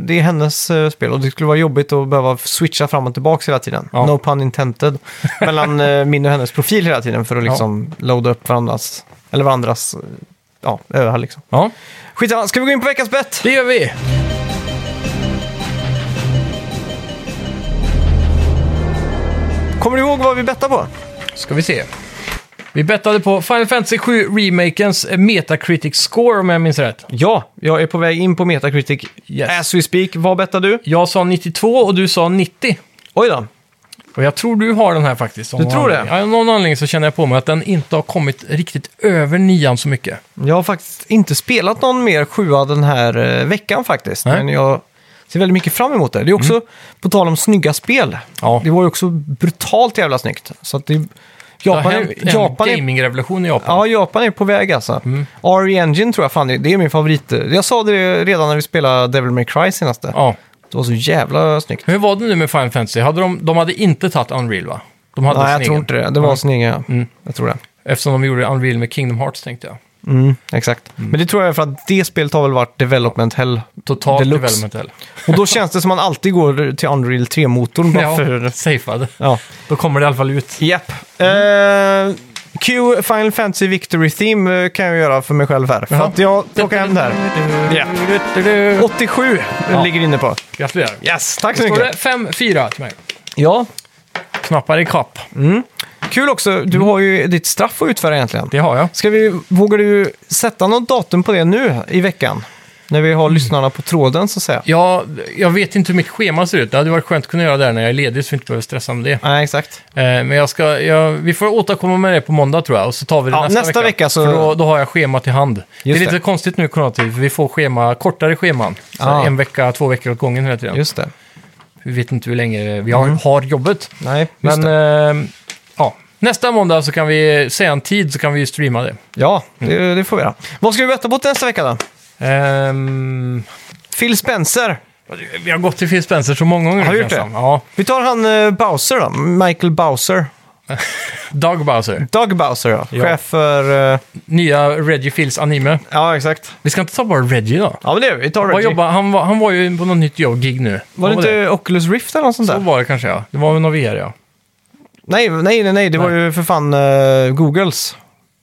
det är hennes eh, spel och det skulle vara jobbigt att behöva switcha fram och tillbaka hela tiden. Ja. No pun intended. Mellan eh, min och hennes profil hela tiden för att liksom loada upp varandras, eller varandras, eh, ja, öar liksom. Ja, Skitsamma, ska vi gå in på veckans bett? det gör vi! Kommer du ihåg vad vi bettade på? Ska vi se. Vi bettade på Final Fantasy 7 Remakens Metacritic score om jag minns rätt. Ja, jag är på väg in på Metacritic. Yes. As we speak, vad bettar du? Jag sa 92 och du sa 90. Oj då. Och jag tror du har den här faktiskt. av Du någon tror det? anledning. Ja, av någon anledning så känner jag på mig att den inte har kommit riktigt över nian så mycket. Jag har faktiskt inte spelat någon mer sjua den här eh, veckan faktiskt. Nej. Men jag ser väldigt mycket fram emot det. Det är också, på tal om snygga spel, Ja. det var ju också brutalt jävla snyggt. Så att det, Det har Japan, hänt är, en Japan, är, gamingrevolution i Japan. ja, Japan är på väg alltså. RE Engine tror jag fan, det det är min favorit. Jag sa det redan när vi spelade Devil May Cry senaste. Ja. Det var så jävla snyggt. Hur var det nu med Final Fantasy? Hade de, de hade inte tagit Unreal va? De hade Nej, jag sin tror egen. inte det. Det var sin egen, ja. Mm. Jag tror det. Eftersom de gjorde Unreal med Kingdom Hearts tänkte jag. Mm, exakt. Men det tror jag är för att det spelet har väl varit development hell Totalt deluxe. development hell. Och då känns det som man alltid går till Unreal 3-motorn bara Ja, för... safeade. Ja. Då kommer det i alla fall ut. Japp. Eh, Q Final Fantasy Victory Theme eh, kan jag göra för mig själv här. För Jaha. att jag plockar hem det här. Ja. 87 Ja. ligger inne på. Gratulerar. Yes, tack så Står det mycket. 5-4 till mig? Ja, Knappar i kapp. kul också. Du har ju ditt straff att utföra egentligen. Det har jag. Ska vi, vågar du sätta något datum på det nu i veckan? När vi har lyssnarna på tråden så att säga. Mm. Ja, jag vet inte hur mitt schema ser ut. Det hade varit skönt att kunna göra det här när jag är ledig så vi inte behöver stressa med det. Nej, exakt. Eh, Men jag ska, jag, vi får återkomma med det på måndag tror jag och så tar vi det Ja, nästa, nästa vecka så- För då, då har jag schemat i hand. det är Just lite det. konstigt nu i coronatid för vi får schema, kortare scheman. Så Ah. En vecka, två veckor åt gången hela tiden. Just Mm. det. Vi vet inte hur länge vi har, har jobbet. Nej, just Men det. eh, ja, nästa måndag så kan vi säga en tid så kan vi streama det. Ja, Mm. det, det får vi göra. Vad ska vi betta på till nästa vecka då? Ehm, Phil Spencer. vi har gått till Phil Spencer så många gånger. Har vi känns gjort det? som. Ja, Vi tar han eh, Bowser då, Michael Bowser. Doug Bowser, Doug Bowser ja, Ja. chef för... eh, nya Reggie Fils anime. ja, exakt. Vi ska inte ta bara Reggie då. Ja, men det gör vi. Vi tar Vad Reggie. jobbar, han, var, han var ju på något nytt jobb, gig nu. Var Vad det inte Oculus Rift eller något sånt Så där? var det kanske ja. Det var väl någon VR ja. Nej, nej, nej, nej, det var Nej. ju för fan eh, Googles.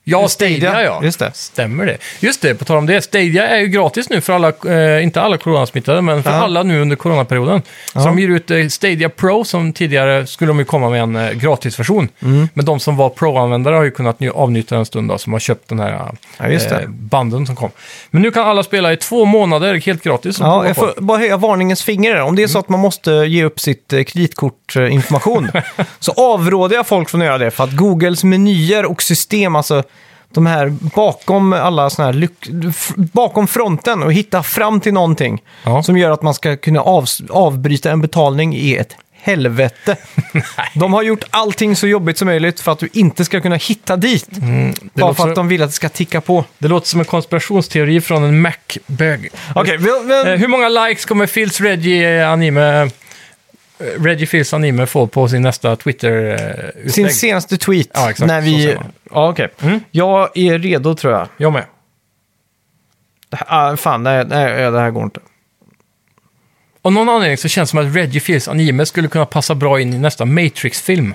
Ja, Stadia, Stadia, ja. just det. Stämmer det. Just det, på tal om det. Stadia är ju gratis nu för alla, eh, inte alla coronasmittade, men för Ja. alla nu under coronaperioden. Så de ger ut eh, Stadia Pro som tidigare skulle de ju komma med en eh, gratisversion. Mm. Men de som var Pro-användare har ju kunnat ny- avnyttja en stund då, som har köpt den här eh, Ja, just det. banden som kom. Men nu kan alla spela i två månader helt gratis. och Ja, prova jag på. får bara höja varningens finger där. Om det är så att man måste ge upp sitt eh, kreditkortinformation så avråder jag folk från att göra det. För att Googles menyer och system, alltså de här bakom alla såna här lyck... f- bakom fronten och hitta fram till någonting Ja. som gör att man ska kunna av... avbryta en betalning är ett helvete. de har gjort allting så jobbigt som möjligt för att du inte ska kunna hitta dit. bara låter- för att de vill att Mm. det ska ticka på. Det låter som en konspirationsteori från en Mac-bög. Okej, vi, vi, Eh, hur många likes kommer Phils Reggie eh, anime... eh, Reggie Phils anime få på sin nästa eh, Twitter-utlägg? Sin senaste tweet. Ja, exakt. när Så vi... säger man. Ja, okej. Mm. Jag är redo tror jag. Jag med. Det här, ah, fan, nej, nej, det här går inte. Av någon anledning så känns det som att Reggie Phils anime skulle kunna passa bra in i nästa Matrix-film.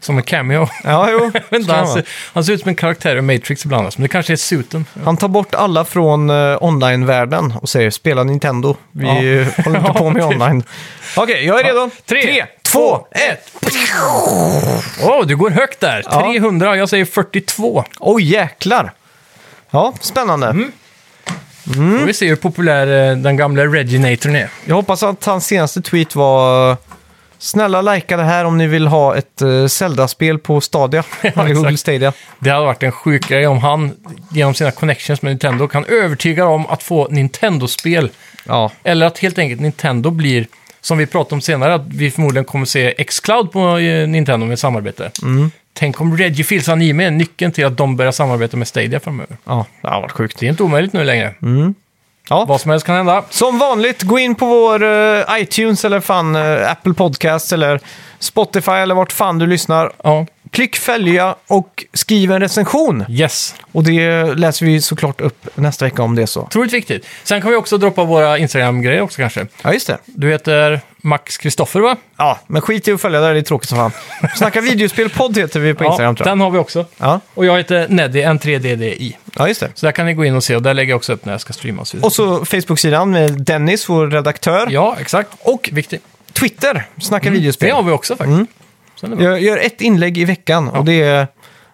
Som en cameo. Ja, jo. alltså. Men ska han, man. ser, han ser ut som en karaktär i Matrix ibland, alltså. men det kanske är suiten. Han tar bort alla från eh, online-världen och säger spela Nintendo. Vi Ja. eh, håller inte på med Ja, typ. online. Okej, jag är redo. Tre, Tre, två, ett! Åh, du går högt där! Ja. 300, jag säger 42. Oj, jäklar. Ja, spännande. Får vi se hur populär eh, den gamla Reginatorn är. Jag hoppas att hans senaste tweet var Snälla likea det här om ni vill ha ett eh, Zelda-spel på Stadia. Eller Google exakt. Stadia. Det hade varit en sjuk grej om han genom sina connections med Nintendo kan övertyga dem att få Nintendo-spel. Ja, Eller att helt enkelt Nintendo blir, som vi pratar om senare, att vi förmodligen kommer se Xcloud på eh, Nintendo med samarbete. Mm. Tänk om Reggie Fils anime är nyckeln till att de börjar samarbeta med Stadia framöver. ja. det har varit sjukt. Det är inte omöjligt nu längre. Mm. Ja. Vad som helst kan hända. Som vanligt, gå in på vår eh, iTunes eller fan eh, Apple Podcast eller Spotify eller vart fan du lyssnar. Ja. Klick följa och skriv en recension. Yes, Och det läser vi såklart upp nästa vecka om det är så. otroligt viktigt. Sen kan vi också droppa våra Instagram-grejer också kanske. Ja, just det. Du heter Max Kristoffer va? Ja, men skit i att följa där, det är tråkigt som fan. Snacka videospelpodd heter vi på Instagram ja, tror jag. den har vi också. Ja, Och jag heter Neddy, N3DDI. ja, just det. Så där kan ni gå in och se och där lägger jag också upp när jag ska streama. Och så vidare. Och så Facebook-sidan med Dennis, vår redaktör. Ja, exakt. Och viktigt. Twitter, Snacka Det videospel. Mm. har vi också faktiskt. Sen är det bra. Jag gör ett inlägg i veckan och det är...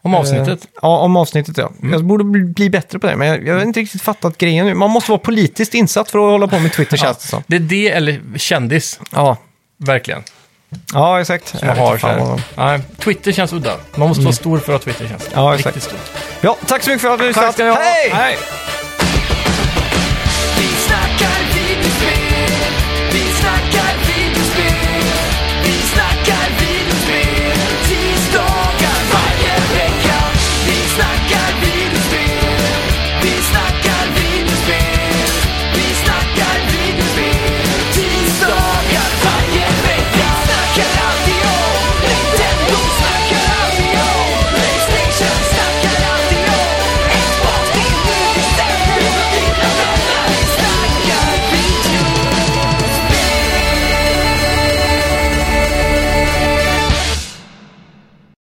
Om avsnittet. Mm. Eh, Ja, om avsnittet ja. Jag borde bli, bli bättre på det, men jag, jag har inte riktigt fattat grejen nu. Man måste vara politiskt insatt för att hålla på med Twitter känns det som. Det är det eller kändis, Ja, verkligen. Ja, exakt. Jag Man vet har inte så fan vad de- här. Mm. Nej, Twitter känns udda. Man måste vara stor för att Twitter känns Ja, exakt. riktigt stort. Ja, tack så mycket för att du lyssnade. ska ni ha. Hej! Hej! Vi snackar videospel, vi snackar